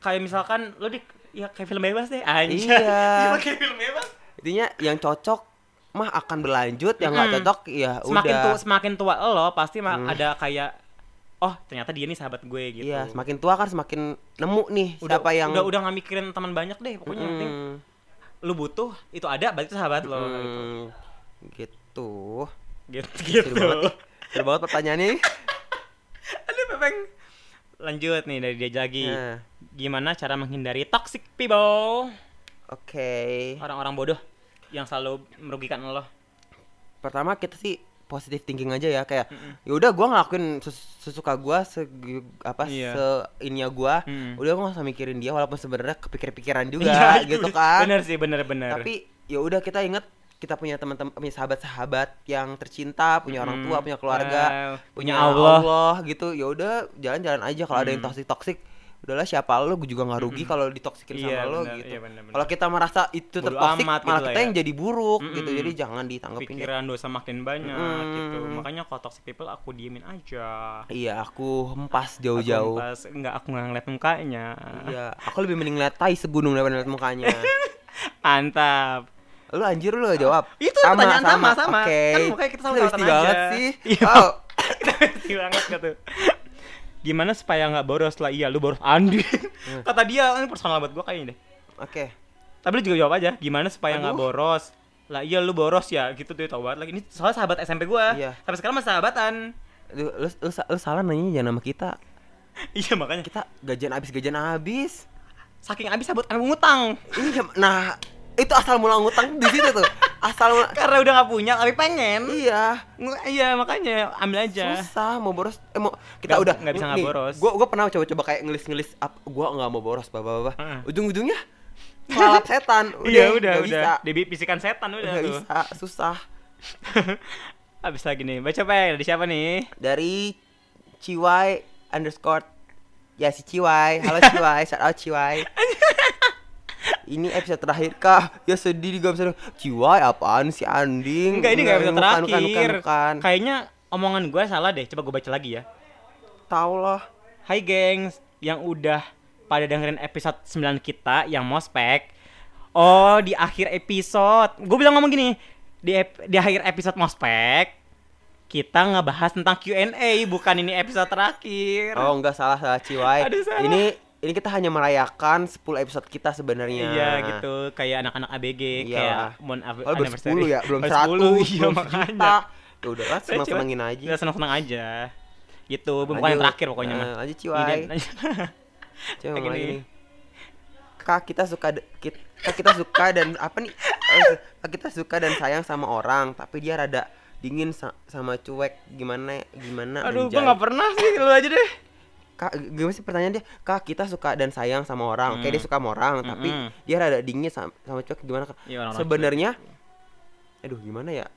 kayak misalkan lu di ya kayak film bebas deh anjir.
Iya.
Cuma kayak film bebas.
intinya yang cocok mah akan berlanjut yang nggak
Mm-mm.
cocok ya
Semakin
udah Hmm.
tua semakin tua lo pasti ma- ada kayak oh ternyata dia nih sahabat gue gitu.
iya semakin tua kan semakin nemu nih
udah,
siapa yang
udah udah nggak mikirin teman banyak deh pokoknya yang penting
Mm.
lu butuh itu ada berarti itu sahabat lo gitu.
Hmm, gitu.
gitu
Seru
gitu
banget. Seru banget pertanyaannya.
ada pepeng lanjut nih dari dia lagi
Nah,
gimana cara menghindari toxic people
Oke.
orang-orang bodoh yang selalu merugikan lo
Pertama kita sih positive thinking aja ya kayak ya udah gua ngelakuin ses- sesuka gua se apa
Iya.
se ininya gua.
Mm.
Udah gua gak usah mikirin dia walaupun sebenarnya kepikir-pikiran
Iya,
juga
itu
gitu kan.
bener sih bener bener
Tapi ya udah kita inget kita punya teman-teman punya sahabat-sahabat yang tercinta, punya orang tua,
Mm.
punya keluarga,
Eh, punya Allah.
gitu. Ya udah jalan-jalan aja kalau ada yang toksik-toksik udahlah siapa lo gue juga nggak rugi kalau ditoksikin sama
Iya,
lo
bener,
gitu.
iya, bener-bener.
kalau kita merasa itu
Bodo
tertoksik
amat
malah
gitu lah
kita
ya.
yang jadi buruk gitu.
Mm-mm.
Jadi jangan ditanggepin. kayak,
pikiran dosa makin banyak
Mm.
gitu makanya kalau toxic people aku diemin aja
Iya, aku hempas
Aku
jauh-jauh.
pas nggak aku nggak ngeliat mukanya
Iya, aku lebih mending ngeliat tai segunung daripada ngeliat mukanya.
mantap
lu anjir lu jawab.
Itu pertanyaan sama, sama.
Oke.
Kan mukanya kita
Lu
sama-sama
besti banget
aja.
sih.
Iya.
Wow.
Ngerti banget gak tuh Gimana supaya nggak boros lah Iya lu boros Andi
Iya.
Kata dia Ini personal buat gue kayaknya deh
Oke.
Tapi lu juga jawab aja Gimana supaya nggak
Aduh.
boros Lah iya lu boros ya Gitu dia tau banget lagi Ini soalnya sahabat SMP gue
Iya.
Sampai sekarang masih sahabatan
Lu, lu, lu, sa- lu salah nanya jangan sama kita.
Iya makanya
Kita gajian habis gajian habis.
Saking abis sahabat Sampai ngutang
Ini jam- nah itu asal mula ngutang di situ tuh. Asal mula-
Karena udah nggak punya Tapi pengen
iya.
Ngu- Iya makanya Ambil aja
Susah mau boros. Eh mau kita
Nggak-
udah
nggak bisa nggak boros.
Gua gua pernah coba-coba kayak ngelis-ngelis up gua nggak mau boros bapak-bapak.
Heeh.
Ujung-ujungnya malam setan.
Iya udah
nggak
udah
Bisa.
Debi bisikan setan udah
Nggak
tuh
bisa, susah.
Abis lagi nih Baca Peng Dari siapa nih
Dari Ciwai underscore ya si Ciwai. Halo Ciwai, shout out Ciwai. Ini episode terakhir kah? Ya sedih gak bisa Ciwai apaan sih anjing
Enggak ini nggak bisa
Bukan,
terakhir
bukan, bukan, bukan.
Kayaknya omongan gue salah deh Coba gue baca lagi ya
Tau lah
Hai gengs Yang udah pada dengerin episode 9 kita Yang mau spek Oh di akhir episode Gue bilang ngomong gini Di, ep- di akhir episode mau spek Kita ngebahas tentang Q&A Bukan ini episode terakhir
Oh enggak salah salah Ciwai.
Aduh, salah.
Ini ini kita hanya merayakan 10 episode kita sebenarnya.
Iya gitu Kayak anak-anak
Iya
ABG Kayak
lah.
mon av-
Kalau belum 10 ya, belum
Baru
100,
10, iya,
belum
makanya
sejuta. Ya udah lah,
Saya cuma-
seneng-senengin aja.
Ya, seneng-seneng aja Gitu Bukan
Lanjut.
yang terakhir pokoknya
Eh,
mah
lanjut,
Ini
Ciwai.
dia-
Coba
Kayak
yang lagi
gini.
nih. Kak kita suka de- kit- kak kita suka dan apa nih? Eh, Kak kita suka dan sayang sama orang, tapi dia rada dingin sa- sama cuek gimana ya? gimana
Aduh,
anjay.
gue gak pernah sih, lu aja deh.
Kak, gimana sih pertanyaan dia? Kak, kita suka dan sayang sama orang. Oke,
Hmm.
dia suka sama orang, tapi
Mm-mm.
dia rada dingin sama, sama cuek gimana, Kak?
Iya, orang-orang
Sebenarnya Aduh, gimana ya?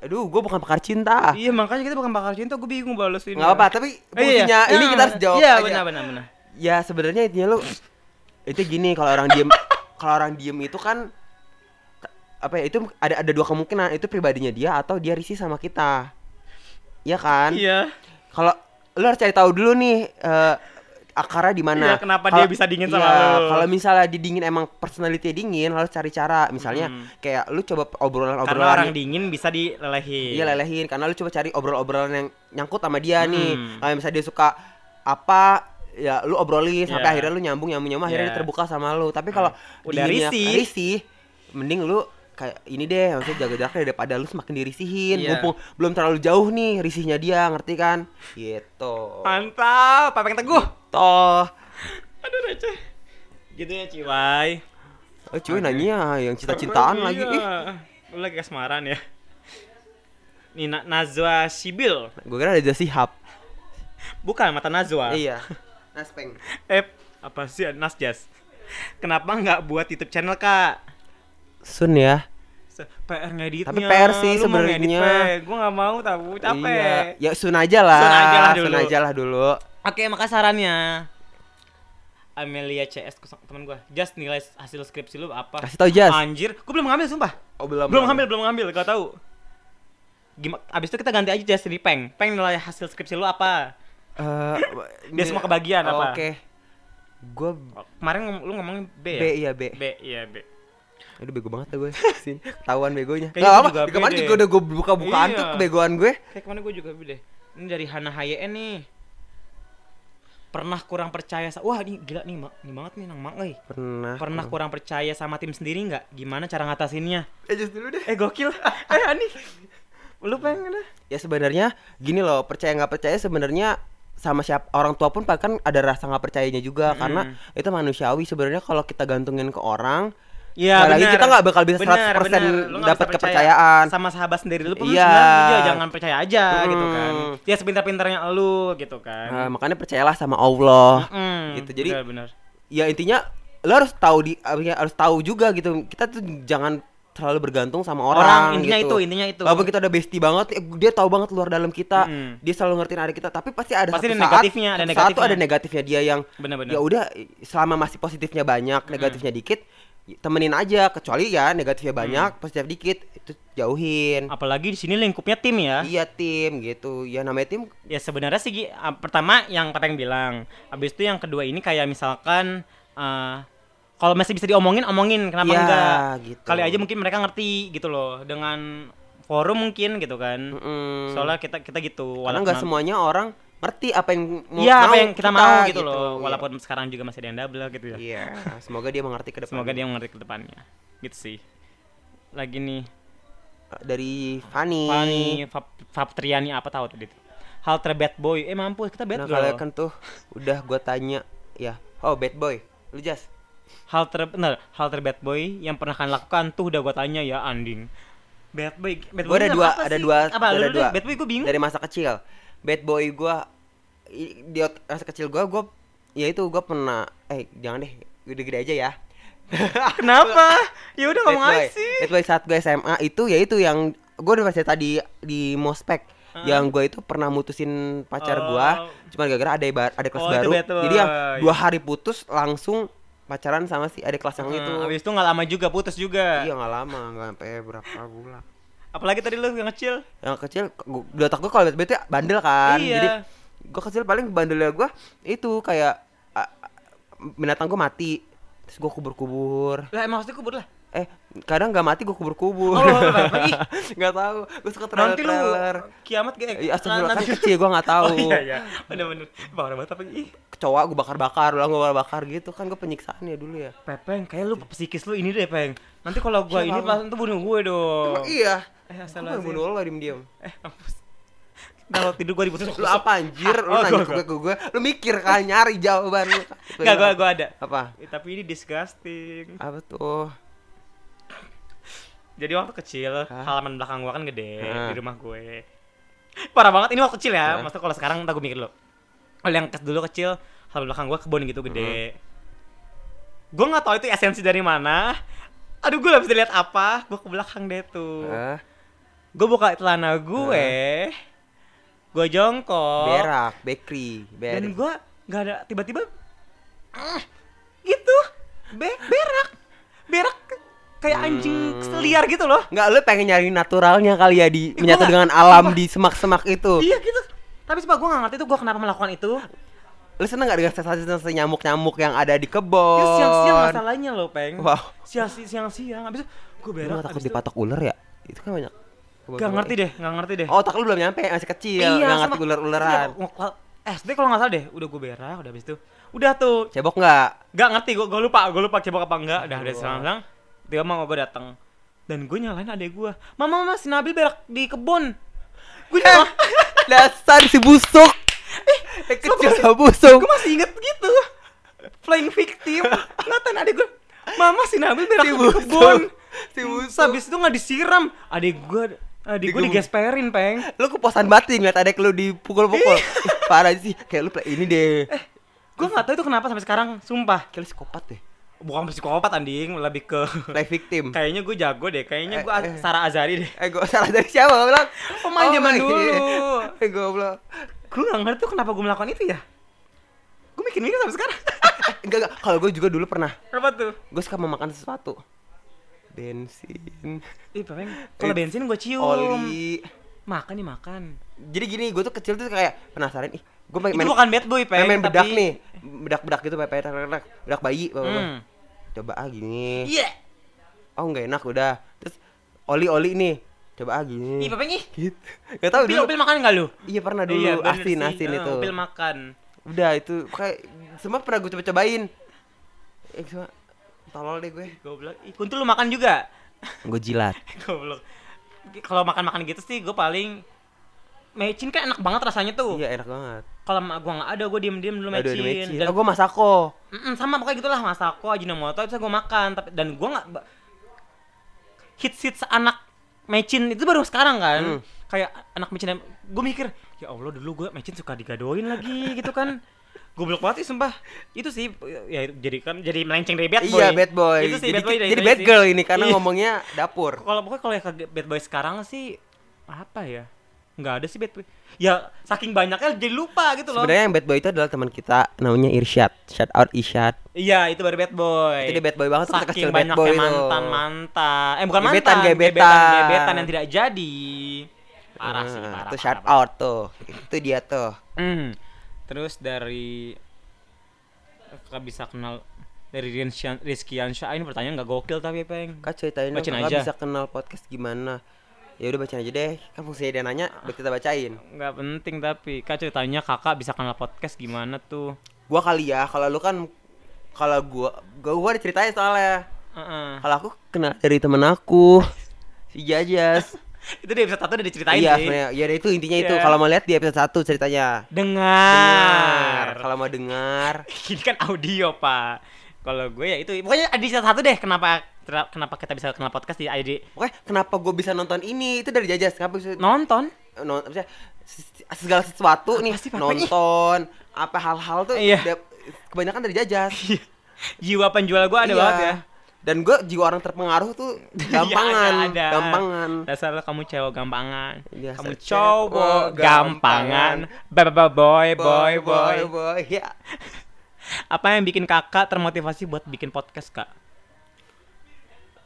Aduh, gue bukan pakar cinta.
Iya, makanya kita bukan bakal cinta, gue bingung balas ini.
Enggak Ah. apa-apa, tapi
Eh, iya,
fungsinya ini
Nah,
kita harus jawab
Iya,
aja.
benar benar benar.
Ya, sebenarnya intinya lu itu gini kalau orang diem kalau orang diem itu kan apa ya itu ada ada dua kemungkinan itu pribadinya dia atau dia risih sama kita Iya kan
Iya.
kalau lu harus cari tahu dulu nih eh, akarnya di mana.
Iya, kenapa
Kalau-
dia bisa dingin sama
Iya,
lu?
Kalau misalnya dia dingin emang personality dingin harus cari cara. Misalnya kayak lu coba
Hmm. Karena
obrolan-obrolan
orang dingin bisa dilelehin.
Iya lelehin karena lu coba cari obrolan-obrolan yang nyangkut sama dia nih.
Hmm.
Kayak misalnya dia suka apa ya lu obrolin sampai
Iya.
akhirnya lu nyambung nyambung nyambung akhirnya
Iya.
dia terbuka sama lu. Tapi kalau
Udah
dinginnya-
risih.
mending lu kayak ini deh maksudnya jaga jaraknya daripada lu semakin dirisihin.
Iya.
Mumpung belum terlalu jauh nih risihnya dia, ngerti kan? Gitu.
Mantap, Papeng Teguh.
Toh.
Aduh, receh. Gitu ya, Ciwai.
Eh, Oh, cuy nanya yang cinta-cintaan
Iya.
lagi. Ih,
Lu lagi kasmaran ya. Nina Nazwa Sibil.
Gue kira ada Sihab.
Bukan mata Nazwa.
Iya. Naspeng.
Eh, apa sih Nasjas? Kenapa nggak buat YouTube channel, Kak?
Sun ya.
Se- PR ngeditnya.
Tapi PR sih
Lu mau ngedit,
sebenarnya.
Pe. Gua nggak mau tahu capek.
Iya. Ya Sun aja lah.
Sun aja lah
Sun
dulu.
aja lah dulu.
Oke, maka sarannya Amelia CS kos- teman gua. Just nilai hasil skripsi lu apa?
Kasih tau Jas.
Anjir, gua belum ngambil sumpah.
Oh belum.
Belum ngambil, belum ngambil, gak tahu. Gimana? Abis itu kita ganti aja Just jadi Peng. Peng nilai hasil skripsi lu apa?
Eh,
Dia semua kebagian
oh,
apa?
Oke. Gue
Kemarin ngom- lu ngomongin B ya?
B iya B.
B, iya B.
Aduh bego banget gue. Sin, ketahuan begonya. Enggak
Kayaknya gua
apa-apa.
juga B
Kemarin
deh.
juga udah gue buka-bukaan
Iya.
tuh kebegoan gue.
Kayak kemana gue juga deh. Ini dari Hana Hayen nih. Pernah kurang percaya sa- Wah, ini gila nih, Mak. Ini banget nih nang Mak, euy.
Pernah.
Pernah kurang percaya sama tim sendiri nggak? Gimana cara ngatasinnya?
Eh just dulu deh.
Eh gokil. eh Ani. Lu pengen dah.
Ya sebenarnya gini loh, percaya nggak percaya sebenarnya sama siapa orang tua pun bahkan ada rasa nggak percayanya juga karena itu manusiawi sebenarnya kalau kita gantungin ke orang
Iya,
sekali lagi
benar.
kita nggak bakal bisa
Benar,
100%
benar. Lu nggak
dapat
bisa percaya
kepercayaan.
sama sahabat sendiri lu pun
Iya.
lu sebenarnya iya, jangan percaya aja gitu
Hmm.
kan. Ya sepintar-pintarnya lu gitu kan.
Nah, makanya percayalah sama Allah
Mm,
gitu. Jadi-
benar, benar.
ya intinya lo harus tahu di artinya harus tahu juga gitu kita tuh jangan terlalu bergantung sama orang,
Orang, intinya
gitu.
itu, intinya itu.
walaupun kita udah bestie banget eh, dia tahu banget luar dalam kita
Mm-mm.
dia selalu ngertiin ada kita tapi pasti ada
Pasti
satu
ada
saat,
negatifnya, ada
satu saat tuh
negatifnya.
ada negatifnya dia yang
Benar-benar.
ya udah selama masih positifnya banyak negatifnya dikit y- temenin aja kecuali ya negatifnya banyak positif dikit itu jauhin
Apalagi di sini lingkupnya tim ya.
iya tim gitu ya namanya tim
Ya sebenarnya sih Gi, ah, pertama yang Pepeng bilang, habis itu yang kedua ini kayak misalkan ah, kalau masih bisa diomongin omongin kenapa
Ya,
enggak?
gitu.
Kali aja mungkin mereka ngerti gitu loh dengan forum mungkin gitu kan.
mm,
Soalnya kita kita gitu
karena
walaupun
nggak semuanya orang ngerti apa yang mau
Iya, apa
mau
yang kita, mau gitu, loh.
Iya.
Walaupun sekarang juga masih ada yang double gitu ya.
Iya, semoga dia mengerti ke depan.
Semoga dia mengerti ke depannya. Gitu sih. Lagi nih,
Eh, dari Fanny.
Fani Fab- Fabriani apa tahu tadi tuh. Hal terbad boy. Eh mampu kita bad
Nah,
girl.
kalian kan tuh udah gua tanya ya. Oh, bad boy. Lu jas.
Hal ter bener, hal terbad boy yang pernah kalian lakukan tuh udah gua tanya ya anding. Bad boy. Bad
Gua
boy
ada
ini
dua,
apa
ada
sih?
dua,
Apa lu
ada
dulu
dua.
deh, Bad boy gua bingung.
Dari masa kecil. Bad boy gua i- di ot- masa kecil gua gua ya itu gua pernah eh jangan deh, gede-gede aja ya.
Kenapa? Ya udah ngomong
Bad
aja
boy.
sih.
Bad boy saat gue SMA itu ya itu yang gue udah pasti tadi di Mospek yang gue itu pernah mutusin pacar
Ah. Oh.
gua gue cuman gara-gara ada ibar- ada kelas
Oh, itu
baru
bad boy.
jadi ya dua hari putus langsung pacaran sama si ada kelas yang itu
Nah, habis itu nggak lama juga putus juga.
iya nggak lama nggak sampai berapa bulan
Apalagi tadi lu yang kecil.
yang kecil gua, di otak gue kalau liat itu bandel kan
Iya.
jadi gue kecil paling bandelnya gue itu kayak ah, ah, binatang gue mati terus gue kubur-kubur
Lah emang harusnya kubur lah.
Eh, kadang nggak mati gue kubur-kubur.
Oh, apa-apa, ih.
Nggak tahu. Gue suka
Nanti lu
trailer-trailer.
kiamat kayak
Iya, astagfirullah kan
nanti-
kecil gue nggak tahu.
Oh iya iya, bener-bener. Bang Rahmat apa ih?
Kecoa gue bakar-bakar, ulang gue bakar gitu kan gue penyiksaan ya dulu ya.
Pepeng, kayak lu psikis lu ini deh, Peng. Nanti kalau gua
Iya,
ini
Bang.
pas tuh bunuh gue dong.
Oh, iya.
Eh,
Gue
astagfirullah.
yang bunuh lo diem-diem.
Eh, mampus. Nah, waktu tidur gua dibutuh.
Lu apa anjir? Lu
Oh,
nanya
gua-
ke gue, ke gue. Lu mikir kan nyari jawaban lu.
Enggak, gua gua ada.
Apa?
Eh, tapi ini disgusting.
Apa tuh?
Jadi waktu kecil,
Hah?
halaman belakang gua kan gede
Hah.
di rumah gue. Parah banget ini waktu kecil ya. Maksudnya kalau sekarang entar gua mikir dulu. Kalau yang kes- dulu kecil, halaman belakang gua kebun gitu gede. Gua nggak tahu itu esensi dari mana. Aduh, gua gak bisa lihat apa. Gua ke belakang deh tuh.
Eh,
Gue buka celana gue, gue jongkok,
berak, bakery,
dan
berak.
gue nggak ada tiba-tiba ah, gitu Be- berak, berak kayak
Hmm.
anjing liar gitu loh.
Enggak, lu pengen nyari naturalnya kali ya di
Eh, gua
menyatu
nggak-
dengan alam di semak-semak itu.
Iya gitu. Tapi sebab gue nggak ngerti tuh gue kenapa melakukan itu.
Lu seneng gak dengan sensasi-sensasi nyamuk-nyamuk yang ada di
Ya,
kebun?
siang-siang masalahnya loh, peng.
Wow.
Siang-siang, siang-siang. Abis itu gue
Lu
berak.
gak takut
abis itu-
dipatok ular ya? Itu kan banyak.
Gak ngerti deh, gak ngerti deh. Iya,
Oh, otak lu belum nyampe, masih kecil. gak ngerti
sama-
ular-ularan.
Iya, gua- gua- SD kalau nggak salah deh, udah gue berak, udah abis itu, udah tuh
Cebok gak?
Gak ngerti, gue gue lupa, gue lupa cebok apa enggak. Udah ada
Astagfirullah.
selang-selang, dia mau gue datang. Dan gue nyalain adek gue. Mama, mama, si Nabil berak di kebun. Gue
Eh,
nyala.
Dasar si busuk. Eh, kecil sama busuk.
gue masih inget gitu. Flying victim. Ngatain adek gue. Mama, si Nabil berak
Si
di
busuk.
kebun.
Si
Terus
busuk.
Habis itu nggak disiram. Adek gue Adik gue digesperin, Peng.
Lu kepuasan batin ngeliat adek lu dipukul-pukul. Ih, Parah sih, kayak lu play ini deh.
Eh. Gue gak tahu itu kenapa sampai sekarang, sumpah.
Kayak lu psikopat deh.
Bukan psikopat anjing, lebih ke
Play victim.
kayaknya gue jago deh, kayaknya gue
Eh, eh.
Sarah Azari deh.
Eh, gue salah dari siapa bilang? Oh, iya.
Pemain Oh, zaman dulu.
Eh, goblok.
Gue gak ngerti tuh kenapa gue melakukan itu ya. Gue mikir-mikir sampai sekarang.
Eh, Enggak, enggak. Kalau gue juga dulu pernah.
Apa tuh?
Gue suka memakan sesuatu. Bensin,
Ih, Peng, kalau
Eh,
bensin gue cium.
oli.
Makan nih makan.
Jadi gini, gue tuh kecil tuh kayak penasaran. Ih, gue main,
Itu bukan bad boy, Peng.
main, main bedak
tapi-
nih. Bedak-bedak gitu, pepet, bedak bayi. apa-apa.
Hmm.
Coba ah gini.
Iya.
oh nggak enak udah terus oli oli nih coba ah gini
Ih, Peng, ih.
gitu nggak tahu
Upil,
dulu
upil makan gak lu?
iya pernah dulu
Iya, bener
asin
sih.
asin
Eh,
itu
Upil makan.
udah itu kayak semua pernah gue coba cobain eh cuma tolol deh gue
Goblok. Ih, kuntul lu makan juga.
gue jilat
Goblok. Kalau makan-makan gitu sih gue paling mecin kan enak banget rasanya tuh.
iya enak banget
Kalau emak gua nggak ada gue diem-diem dulu
Aduh,
mecin.
di mecin.
Dan
oh gue masako
Mm-mm, sama pokoknya gitulah masako Ajinomoto bisa gue makan tapi dan gue nggak ba- hits hits anak mecin itu baru sekarang kan
Hmm.
kayak anak mecin gue mikir ya allah dulu gue mecin suka digadoin lagi gitu kan goblok banget sih sumpah itu sih ya jadi kan jadi melenceng dari bad boy
iya bad boy
itu sih
jadi,
bad boy dari
jadi
tadi
bad
sih.
girl ini karena
Iya.
ngomongnya dapur
kalau pokoknya kalau yang ke bad boy sekarang sih apa ya nggak ada sih bad boy ya saking banyaknya jadi lupa gitu loh
sebenarnya yang bad boy itu adalah teman kita namanya Irsyad shout out Irsyad
iya itu baru bad boy
itu dia bad boy banget tuh, kecil
Saking
bad
banyaknya
boy tuh.
mantan mantan eh bukan
Gebetan,
mantan
gebetan.
gebetan gebetan yang tidak jadi parah sih
Ah, tuh
parah parah,
shout
parah.
out tuh itu dia tuh
Hmm. terus dari kakak bisa kenal dari Rizky- Rizky Ansyah ini pertanyaan nggak gokil tapi peng
Kak ceritain dong,
Bacain
kakak
aja.
bisa kenal podcast gimana Ya udah bacain aja deh Kan fungsinya dia nanya,
Ah.
udah kita bacain
nggak penting tapi kak ceritanya kakak bisa kenal podcast gimana tuh
Gua kali ya, kalau lu kan Kalau gua, gua, gua ada ceritanya soalnya
Heeh.
Kalau aku kenal dari temen aku Si Jajas
itu dia bisa satu udah diceritain
Iya
sih.
sebenarnya, ya udah, itu intinya itu
Iya.
Kalau mau lihat di episode 1 ceritanya
dengar
Dengar, Kalau mau dengar
ini kan audio pak kalau gue ya itu pokoknya ada di satu deh kenapa kenapa kita bisa kenal podcast di ada di-
Oke, kenapa gua bisa nonton ini? Itu dari Jajas Kenapa bisa
nonton
non, apa sih, se- segala sesuatu nih
sih, Papa?
Nonton Apa hal-hal tuh
Iya.
dap- Kebanyakan dari Jajas
jiwa penjual gue ada
Iya.
banget ya
Dan gue jiwa orang terpengaruh tuh gampangan,
Iya, ada, ada.
gampangan.
dasar lo kamu cewek gampangan
Biasa
kamu
cewek
cowok
gampangan.
gampangan Ba-ba-ba, boy boy boy
boy. Ya.
apa yang bikin kakak termotivasi buat bikin podcast kak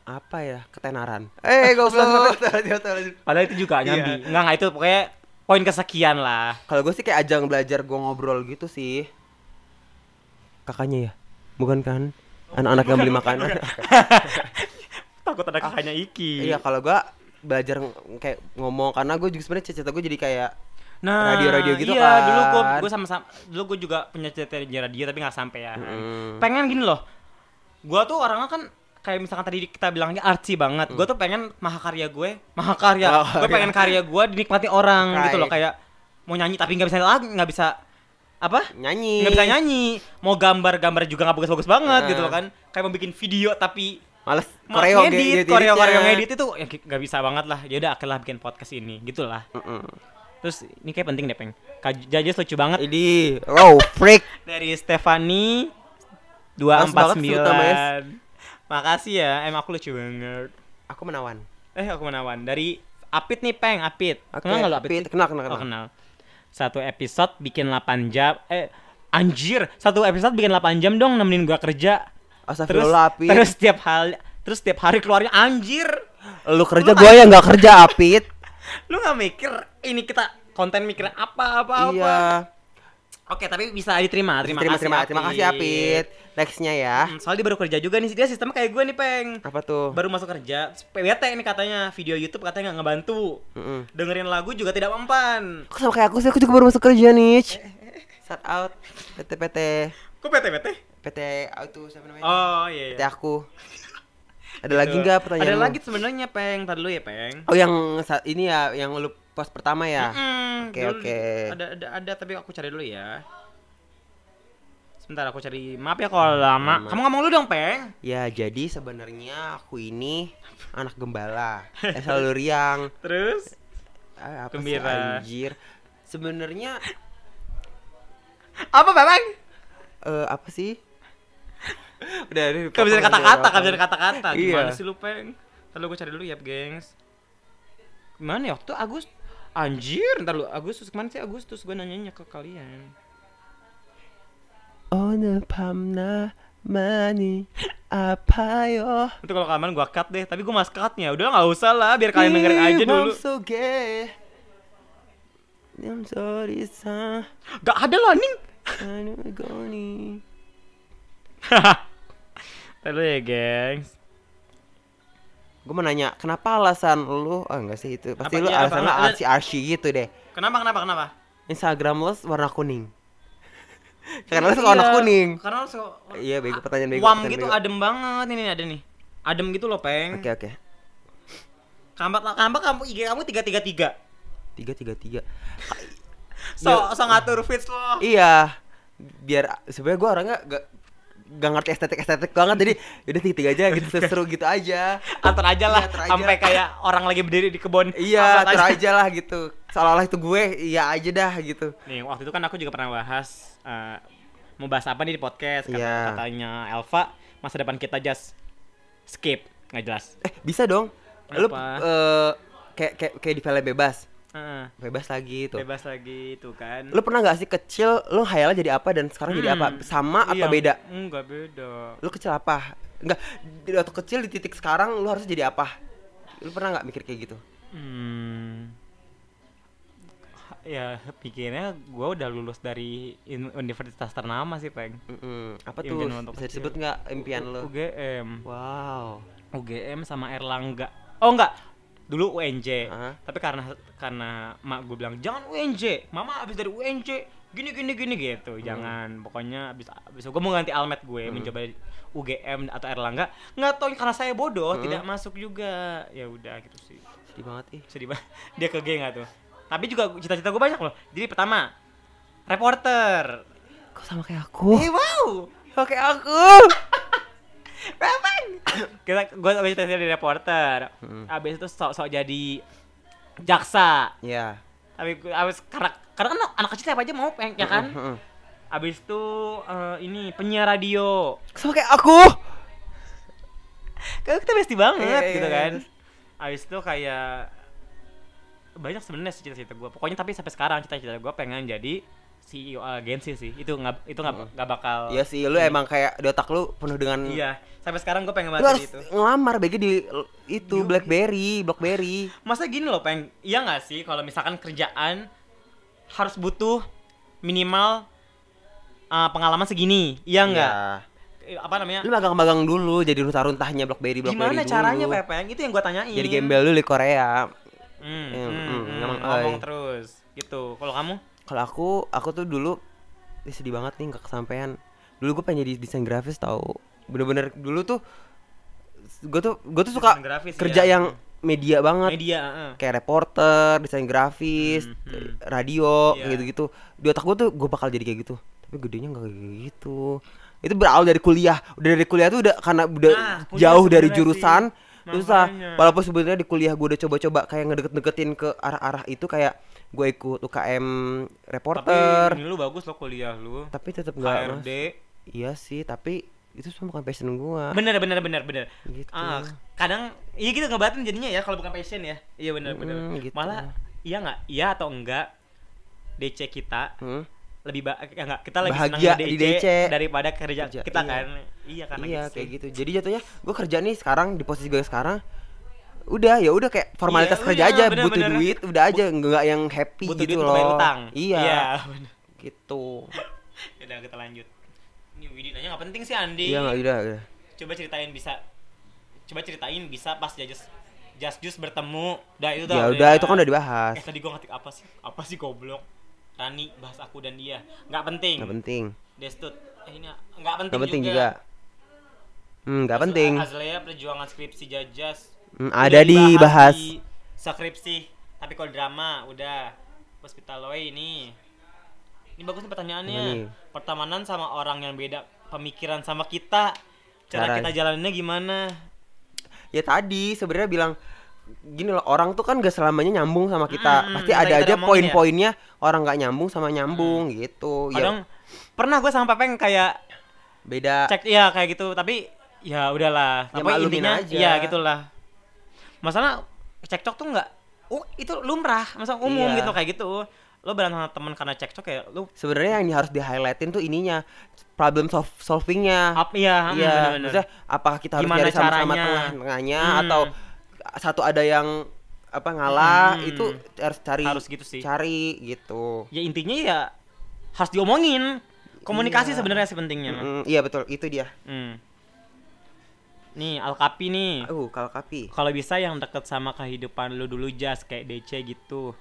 Apa ya? Ketenaran. Eh, goblok.
padahal itu juga
Iya.
nyambi nggak nggak itu pokoknya poin kesekian lah
Kalau gue sih kayak ajang belajar gue ngobrol gitu sih. Kakaknya ya? Bukan kan? Anak-anak yang beli makanan.
takut ada kakaknya
Ah.
Iki
Iya, kalau gue belajar ng- kayak ngomong karena gue juga sebenarnya cita-cita gue jadi kayak
Nah,
Radio-radio gitu
iya, dulu gua
kan.
gua sama, sama dulu gua juga punya cita di radio tapi nggak sampai ya.
Mm.
Pengen gini loh. Gua tuh orangnya kan kayak misalkan tadi kita bilangnya artsy banget.
Mm.
Gua tuh pengen mahakarya gue, mahakarya.
Mahakarya.
Gue pengen karya gue dinikmati orang
Right.
gitu loh kayak mau nyanyi tapi nggak bisa lagu, nggak bisa apa?
nyanyi.
Nggak bisa nyanyi. Mau gambar-gambar juga nggak bagus-bagus banget
Nah.
gitu loh kan. Kayak mau bikin video tapi
Males
Koreo ngedit,
ngedit-ngeditnya.
koreo koreo
iya.
ngedit itu ya nggak bisa banget lah. Ya udah akhirnya bikin podcast ini, gitulah.
Mm-mm.
Terus ini kayak penting deh, Peng. Kak Jajas lucu banget.
Ini raw freak.
Dari Stefani
Mas banget sih ya. lu namanya.
249. Makasih ya, em aku lucu banget.
Aku menawan.
Eh, aku menawan. Dari Apit nih, Peng, Apit.
Oke,
kenal nggak lu Apit?
Apit.
sih?
Kenal, kenal,
Oh,
kenal.
kenal. Satu episode bikin 8 jam. Eh, anjir, satu episode bikin 8 jam dong nemenin gua kerja. Terus
Astagfirullah Apit.
terus setiap hal terus setiap hari keluarnya anjir.
lu kerja ya? gue yang nggak kerja Apit.
Lu nggak mikir ini kita konten mikir apa apa apa.
iya.
Oke, tapi bisa diterima. Terima,
Terima
kasih.
terima terima kasih Apit. Nextnya ya.
Hmm, Soalnya dia baru kerja juga nih, dia sistemnya kayak gue nih, Peng.
Apa tuh?
Baru masuk kerja, terus PWT ini katanya, video YouTube katanya nggak ngebantu.
Mm-mm.
Dengerin lagu juga tidak mempan.
Kok sama kayak aku sih? Aku juga baru masuk kerja nih. Shout out PT PT
Kok PT PT?
PT Auto siapa namanya?
Oh iya.
PT
iya.
aku. Ada lagi nggak pertanyaan?
Ada
lu?
lagi sebenarnya, Peng. Tadi dulu ya, Peng.
Oh yang saat ini ya yang lu post pertama ya.
Mm,
Oke,
dulu
oke.
Ada, ada ada tapi aku cari dulu ya. Sebentar aku cari map ya kalau lama.
Lama.
Kamu ngomong lu dong, Peng.
Ya jadi sebenarnya aku ini anak gembala, eh, selalu riang,
Terus
Ah, apa
Gembira.
sih anjir? Sebenarnya
apa, Bang?
eh, apa sih? Udah, udah,
Gak bisa
potong,
kata-kata,
udah,
gak bisa
potong.
kata-kata. Gimana
Iya.
sih lu, Peng? Ntar lu gue cari dulu ya, gengs. Gimana ya waktu itu Agus Anjir, ntar lu Agustus kemana sih Agustus? Gue nanyanya ke kalian.
Ona pamna mani apa yo?
Itu kalau kalian gue cut deh, tapi gue mas cutnya. Udah nggak usah lah, biar kalian dengerin aja dulu.
I'm so gay. I'm sorry, son.
Gak ada loh, Ning.
I'm gonna
Ntar dulu ya, gengs.
Gue mau nanya, kenapa alasan lu? Oh enggak sih itu. Pasti
Apa-
lu
iya, apa-
alasan lu
apa-
arsi arsi gitu deh.
Kenapa, kenapa, kenapa?
Instagram lu warna kuning. Karena lu suka warna
Iya.
kuning.
Karena lu suka...
Iya, bego pertanyaan bego.
Wam
pertanyaan
gitu
bego.
adem banget. Ini nih, ada nih. Adem gitu loh, Peng.
Oke oke.
Kampak, kampak kamu IG kamu 333.
Tiga tiga tiga.
So, so ngatur feeds lo.
Iya. Biar sebenarnya gue orangnya gak gak ngerti estetik estetik banget jadi udah tiga tiga aja gitu seru gitu aja
atur aja lah
Iya, atur aja.
sampai kayak orang lagi berdiri di kebun
iya
Upload
atur aja lah gitu seolah-olah itu gue iya aja dah gitu
nih waktu itu kan aku juga pernah bahas eh, mau bahas apa nih di podcast kata,
Iya.
katanya Elva masa depan kita just skip nggak jelas
eh bisa dong lu
Apa?
eh, kayak kayak kayak di film bebas
Heeh,
bebas lagi gitu. tuh
bebas lagi itu kan
lu pernah nggak sih kecil lu hayalnya jadi apa dan sekarang jadi apa sama apa
Iya,
beda
nggak beda
lu kecil apa enggak di waktu kecil di titik sekarang lu harus jadi apa lu pernah nggak mikir kayak gitu
hmm. ya pikirnya gue udah lulus dari in- universitas ternama sih peng
Mm-mm. apa tuh
Impian lu untuk
bisa
kecil.
disebut nggak impian lu
UGM
wow
UGM sama Erlangga. Oh enggak, dulu UNJ.
Hah?
Tapi karena karena mak gue bilang jangan UNJ, mama abis dari UNJ gini gini gini gitu. Jangan, pokoknya abis abis gue mau ganti almet gue mencoba UGM atau Erlangga. Nggak tahu karena saya bodoh tidak masuk juga. Ya udah gitu sih.
sedih banget ih
Sedih banget. Dia ke geng nggak tuh. Tapi juga cita-cita gue banyak loh. Jadi pertama reporter.
kok sama kayak aku
Eh wow.
oke aku
kita gue abis itu jadi reporter
Mm.
abis itu sok-sok jadi jaksa
ya
abis abis karena karena kan anak kecil siapa aja mau peng ya kan
Mm-mm.
abis itu eh, ini penyiar radio
sama kayak aku
kan kita besti banget
Iya,
gitu
iya,
kan
iya.
abis itu kayak banyak sebenarnya sih cita-cita gue pokoknya tapi sampai sekarang cita-cita gue pengen jadi E CEO agensi eh, sih itu nggak itu nggak nggak bakal
Iya sih, lu emang kayak di otak lu penuh dengan
iya gitu. sampai sekarang gue pengen
lu
banget
harus
jadi itu
ngelamar bagi di itu
Yoi.
BlackBerry, BlackBerry.
Masa gini loh, Peng. Iya nggak sih kalau misalkan kerjaan harus butuh minimal uh, pengalaman segini. Iya nggak? Eh, Apa namanya?
Iya. Lu magang-magang dulu jadi runtah-runtahnya BlackBerry, BlackBerry
Gimana
dulu.
caranya, Pepeng? Itu yang gua tanyain.
Jadi gembel dulu di Korea.
Hmm,
Em, em,
hmm, hmm,
ngomong,
ngomong
oi.
terus. Gitu. Kalau kamu?
Kalau aku, aku tuh dulu Ih, sedih banget nih gak kesampaian. Dulu gue pengen jadi desain grafis tau. Bener-bener dulu tuh gue tuh gue tuh suka
Desain grafis,
kerja
ya.
yang media banget.
Media, heeh.
kayak reporter, desain grafis,
Hmm,
eh,
hmm.
radio,
Iya.
gitu-gitu. Di otak gue tuh gue bakal jadi kayak gitu. Tapi gedenya nggak kayak gitu. Itu berawal dari kuliah. Udah dari kuliah tuh udah karena udah
Nah, kuliah
jauh dari
sebenarnya
jurusan.
sih.
Terus lah,
Makanya.
walaupun sebenarnya di kuliah gue udah coba-coba kayak ngedeket-deketin ke arah-arah itu kayak gue ikut UKM
Tapi
reporter,
ini lu bagus loh kuliah lu.
tapi, tetap nggak.
HRD.
mas- Iya sih, tapi itu semua bukan passion gue.
Bener, bener, bener, bener.
Gitu.
Ah, kadang iya gitu ngebatin jadinya ya kalau bukan passion ya. Iya bener, bener.
Mm, gitu.
Malah iya nggak? Iya atau enggak? DC kita
Hmm?
lebih ba ya enggak kita lebih
Bahagia
senang
di
di DC,
DC.
daripada kerja
Kerja,
kita
iya.
kan iya karena
iya
gitu
kayak gitu jadi jatuhnya gue kerja nih sekarang di posisi gue sekarang udah ya udah kayak formalitas
Iya,
kerja
iya,
aja
bener,
butuh
bener.
duit udah aja nggak yang happy
butuh
gitu loh
duit untuk bayar utang
iya
bener.
gitu
udah kita lanjut ini Widi nanya nggak penting sih Andi
iya nggak udah udah
coba ceritain bisa coba ceritain bisa pas jajus Just Jus bertemu Udah itu
ya udah itu kan udah dibahas
Eh tadi gua ngetik apa sih Apa sih goblok Rani bahas aku dan dia Nggak penting
nggak penting
Destut Eh ini nggak penting,
nggak penting juga hmm nggak
Terus
penting
Azlea perjuangan skripsi Jajas
Hmm, ada dibahas.
di skripsi tapi kalau drama udah hospitaloy ini Ini bagus nih pertanyaannya.
Apa nih?
Pertemanan sama orang yang beda pemikiran sama kita. Cara
Cara-
kita jalaninnya gimana?
ya tadi sebenarnya bilang gini loh orang tuh kan gak selamanya nyambung sama kita
Mm,
pasti
kita-
ada
kita
aja
udah ngomongin
poin-poinnya orang nggak nyambung sama nyambung gitu ya
Kadang pernah gue sama Pepeng kayak
beda
cek ya kayak gitu, tapi ya udahlah.
Ah. Ya,
Tapi
maklumin
intinya
aja.
ya gitulah. Masalah cekcok tuh nggak uh, itu lumrah, masalah umum
Iya.
gitu kayak gitu. Lo berantem sama teman karena cekcok ya lu
sebenarnya yang harus di highlightin tuh ininya problem solv- solvingnya
up ya, hmm,
Iya,
bener-bener.
maksudnya apakah kita harus
Gimana
nyari sama-sama
caranya?
tengah-tengahnya
Hmm.
atau satu ada yang apa ngalah
Hmm.
itu harus cari
harus gitu sih.
cari gitu.
ya intinya ya harus diomongin komunikasi
Iya.
sebenarnya sih pentingnya Mak.
Mm, iya betul, itu dia.
Hmm. nih alkapi nih
Uh, kalau kapi.
kalau bisa yang deket sama kehidupan lu dulu jas kayak DC gitu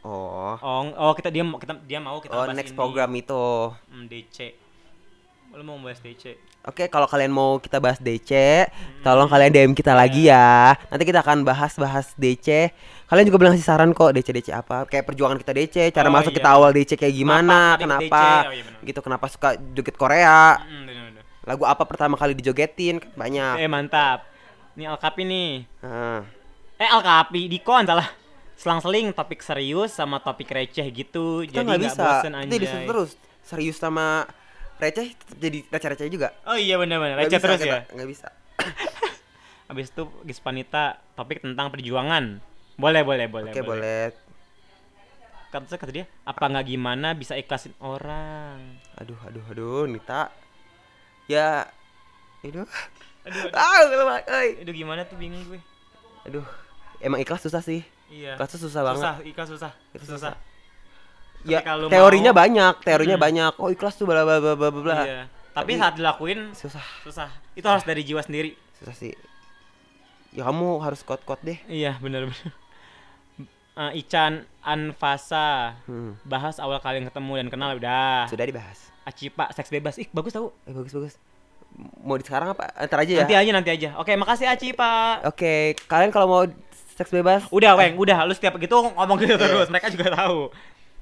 Oh.
oh oh kita dia kita dia mau kita
Oh,
bahas
next
ini.
program itu.
Hmm, DC lu mau bahas DC
Oke, kalau kalian mau kita bahas DC,
Hmm.
tolong kalian DM kita lagi ya. Nanti kita akan bahas-bahas DC. Kalian juga bilang kasih saran kok DC-DC apa, kayak perjuangan kita DC, cara
Oh,
masuk
iya.
kita awal DC kayak gimana,
Kenapa tadi ke
kenapa,
DC? Oh, iya, benar.
gitu, kenapa suka joget Korea,
Hmm, bener, bener.
lagu apa pertama kali dijogetin kan banyak Nah,
eh mantap nih alkapi nih
Heeh.
eh alkapi dikon salah selang-seling topik serius sama topik receh gitu
kita
jadi
nggak
nggak
bisa
bosen
kita
anjay
disuruh terus serius sama receh tetap jadi receh-receh juga
oh iya bener-bener
Nggak
receh
bisa
terus
kita,
ya
nggak bisa
Habis itu Gispanita topik tentang perjuangan. Boleh, boleh, boleh.
oke boleh
Kata saya, kata dia, apa nggak gimana bisa ikhlasin orang?
aduh aduh aduh Nita ya aduh
Aduh, aduh,
ah lemah, euy.
aduh, gimana tuh bingung gue.
aduh emang ikhlas susah sih
Iya.
ikhlas tuh susah banget
susah, ikhlas susah.
Ikhlas susah.
susah.
ya
Ketika lu
teorinya
mau-
banyak teorinya
Mm.
banyak oh ikhlas tuh bla bla bla bla bla, bla
Iya. Tapi,
Tapi-
saat dilakuin
susah
susah. Itu harus dari jiwa sendiri.
susah sih ya kamu harus kuat kuat deh
Iya, benar benar. Eh, Ican Anfasa
Hmm,
bahas awal kalian ketemu dan kenal udah.
sudah dibahas
Acipa seks bebas. Ih, bagus tau.
Eh bagus bagus. Mau di sekarang apa? Ntar aja ya.
Nanti aja, nanti aja. Oke, makasih Acipa.
Oke, kalian kalau mau seks bebas
Udah, Weng, udah. Lu setiap gitu ngomong gitu terus. Mereka juga tahu.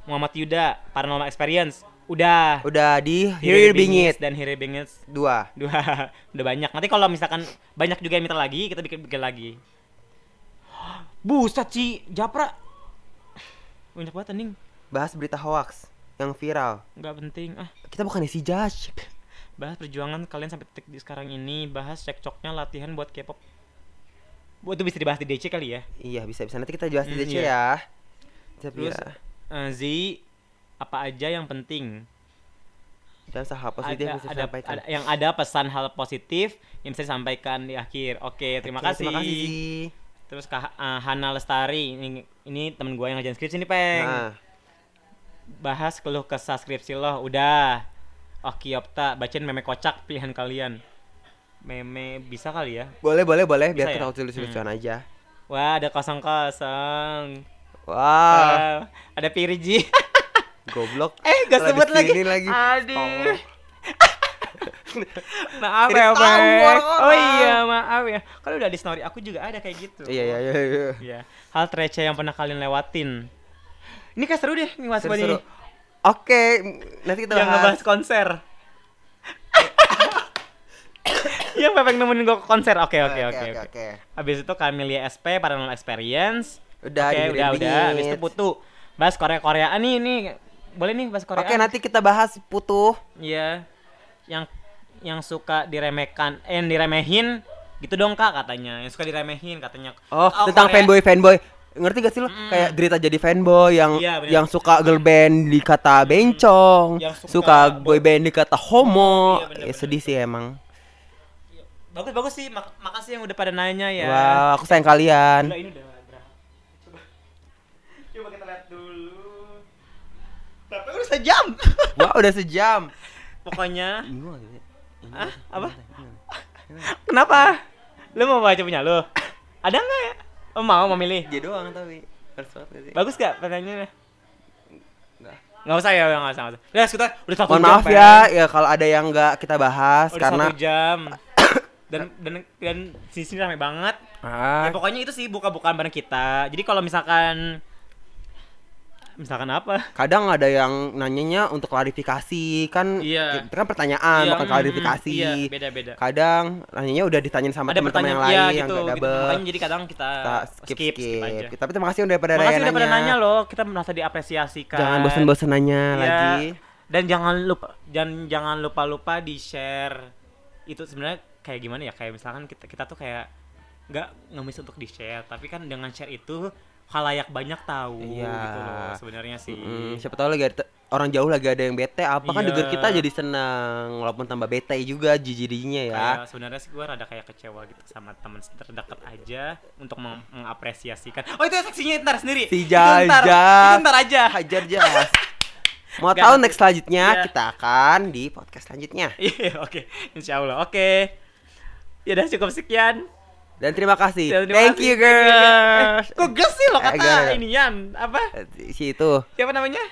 Muhammad Yuda, Paranormal Experience. Udah.
udah di Hirir Bingit
dan Hiri Bingit.
dua.
Dua. udah banyak. Nanti kalau misalkan banyak juga yang minta lagi, kita bikin bikin lagi. Buset sih, Japra. Banyak banget anjing.
Bahas berita hoax yang viral.
Nggak penting. Ah,
Kita bukan isi judge.
bahas perjuangan kalian sampai titik di sekarang ini, bahas cekcoknya latihan buat K-pop. Bu, itu bisa dibahas di DC kali ya.
Iya bisa bisa nanti kita jelasin aja
Hmm, iya.
ya. Tapi
Terus
ya,
eh, Z apa aja yang penting?
dan hal positif yang
ada,
bisa
ada,
disampaikan.
ada- yang ada pesan hal positif yang bisa disampaikan di akhir. Oke, terima,
Oke,
kasih.
Terima kasih. Zi.
Terus Kak eh, Hana Lestari ini, ini temen gue yang ngajarin skripsi nih, Peng.
Nah,
Bahas keluh kesah skripsi lo, udah. Oke, Opta, bacain meme kocak pilihan kalian. Meme bisa kali ya?
boleh boleh boleh biar
Bisa
kita
ya?
lucu lucu lucuan aja.
Wah, ada kosong-kosong.
Wah,
Wah, ada Pirji.
goblok.
eh,
Kalau
gak
di
sebut lagi. Ah.
sini lagi.
Aduh.
Tolong.
Maaf
Jadi
ya,
tahu
Peng.
orang-orang.
Oh iya, maaf ya. Kalau udah di story aku juga ada kayak gitu.
Iya iya iya. iya.
Iya. Hal receh yang pernah kalian lewatin. Ini kayak seru deh, nih mas
Seru,
Bani.
seru. Oke, nanti kita
Yang
bahas.
ngebahas konser. Yang Iya, Pepeng nemenin gue ke konser. Oke, oke, oke, oke. Habis itu Camelia SP Paranormal Experience.
Udah,
Oke,
di
udah,
Green
udah. Habis itu
Beans.
Putu. Bahas Korea-Koreaan nih, nih. Boleh nih bahas Korea.
Oke, nanti kita bahas putu.
Iya. Yang yang suka diremehkan, eh yang diremehin gitu dong Kak katanya. Yang suka diremehin katanya.
Oh, tentang
Korea-
fanboy fanboy. Ngerti gak sih lo?
Mm.
Kayak Drita jadi fanboy yang
Iya, bener. Hmm.
yang suka girl band dikata bencong,
Yang suka
suka,
bo-
boy band dikata homo.
Iya,
Ya,
bener, bener.
sedih sih emang.
Bagus bagus sih. Mak- makasih yang udah pada nanya ya.
Wah, aku sayang kalian.
Gila ini udah berapa? Coba, coba kita lihat dulu. Tapi udah sejam.
Wah, udah sejam.
Pokoknya,
Ini gua- ini
ah
gua-
apa?
ini gua-
Kenapa? Lu mau baca punya lu? Ada nggak ya? Oh, mau memilih?
Dia doang tapi harus banget gak sih?
Bagus gak pertanyaannya?
Nggak.
Nggak usah ya, nggak usah. nggak usah. Udah, kita udah satu
Mohon
jam,
maaf
Pak.
ya, ya kalau ada yang nggak kita bahas
Udah
karena
satu jam. dan dan dan di sini ramai banget.
Ah,
Ya, pokoknya itu sih buka-bukaan bareng kita. Jadi kalau misalkan Misalkan apa?
kadang ada yang nanyanya untuk klarifikasi kan itu
Iya.
kan pertanyaan
Iya,
bukan
mm,
klarifikasi
Iya, beda-beda.
kadang nanyanya udah ditanyain sama
Ada
teman-teman yang
pertanyaan
lain
iya
yang
gitu,
gak
gitu.
dapet
Makanya jadi kadang kita,
kita skip skip,
skip, skip aja.
tapi terima kasih udah pada
Makasih
nanya,
udah pada nanya loh, kita merasa diapresiasikan.
jangan bosan-bosan nanya
Iya.
Nah, lagi
Dan jangan lupa dan jangan lupa lupa di share. Itu sebenarnya kayak gimana ya? Kayak misalkan kita kita tuh kayak nggak ngemis untuk di share, tapi kan dengan share itu halayak banyak tahu
Iya.
gitu loh sebenarnya sih.
Mm, siapa tahu lagi ada, orang jauh lagi ada yang bete apa kan
Iya.
denger kita jadi senang walaupun tambah bete juga jijidinya ya
Kayak sebenarnya sih gue rada kayak kecewa gitu sama teman terdekat aja untuk meng- mengapresiasikan. Oh itu seksinya ntar sendiri.
Si
Itu ntar,
Jaja.
itu ntar aja.
Ah, hajar jelas mau
Gak
tahu
ada-
next selanjutnya
Iya.
kita akan di podcast selanjutnya
Iya oke, insya Allah oke. Ya udah cukup sekian.
dan terima kasih
Dan Iya, terima
thank
kasih.
you girls
Eh, kok gas sih lo
Eh,
kata
gara-gara.
ini Yan? Apa?
Eh, si itu
Siapa namanya?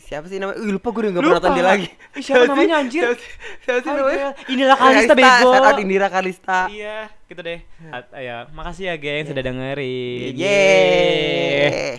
siapa sih namanya? Ih, lupa gue udah gak
Lupa.
pernah nonton dia lagi.
Ih, siapa
sih?
namanya, anjir? Oh, iya.
Siapa sih- Siapa sih namanya?
Hai, Indira Kalista bego.
Shout out Indira Kalista. Iya.
Iya, gitu deh. At- ya, makasih ya geng sudah dengerin.
Yeay.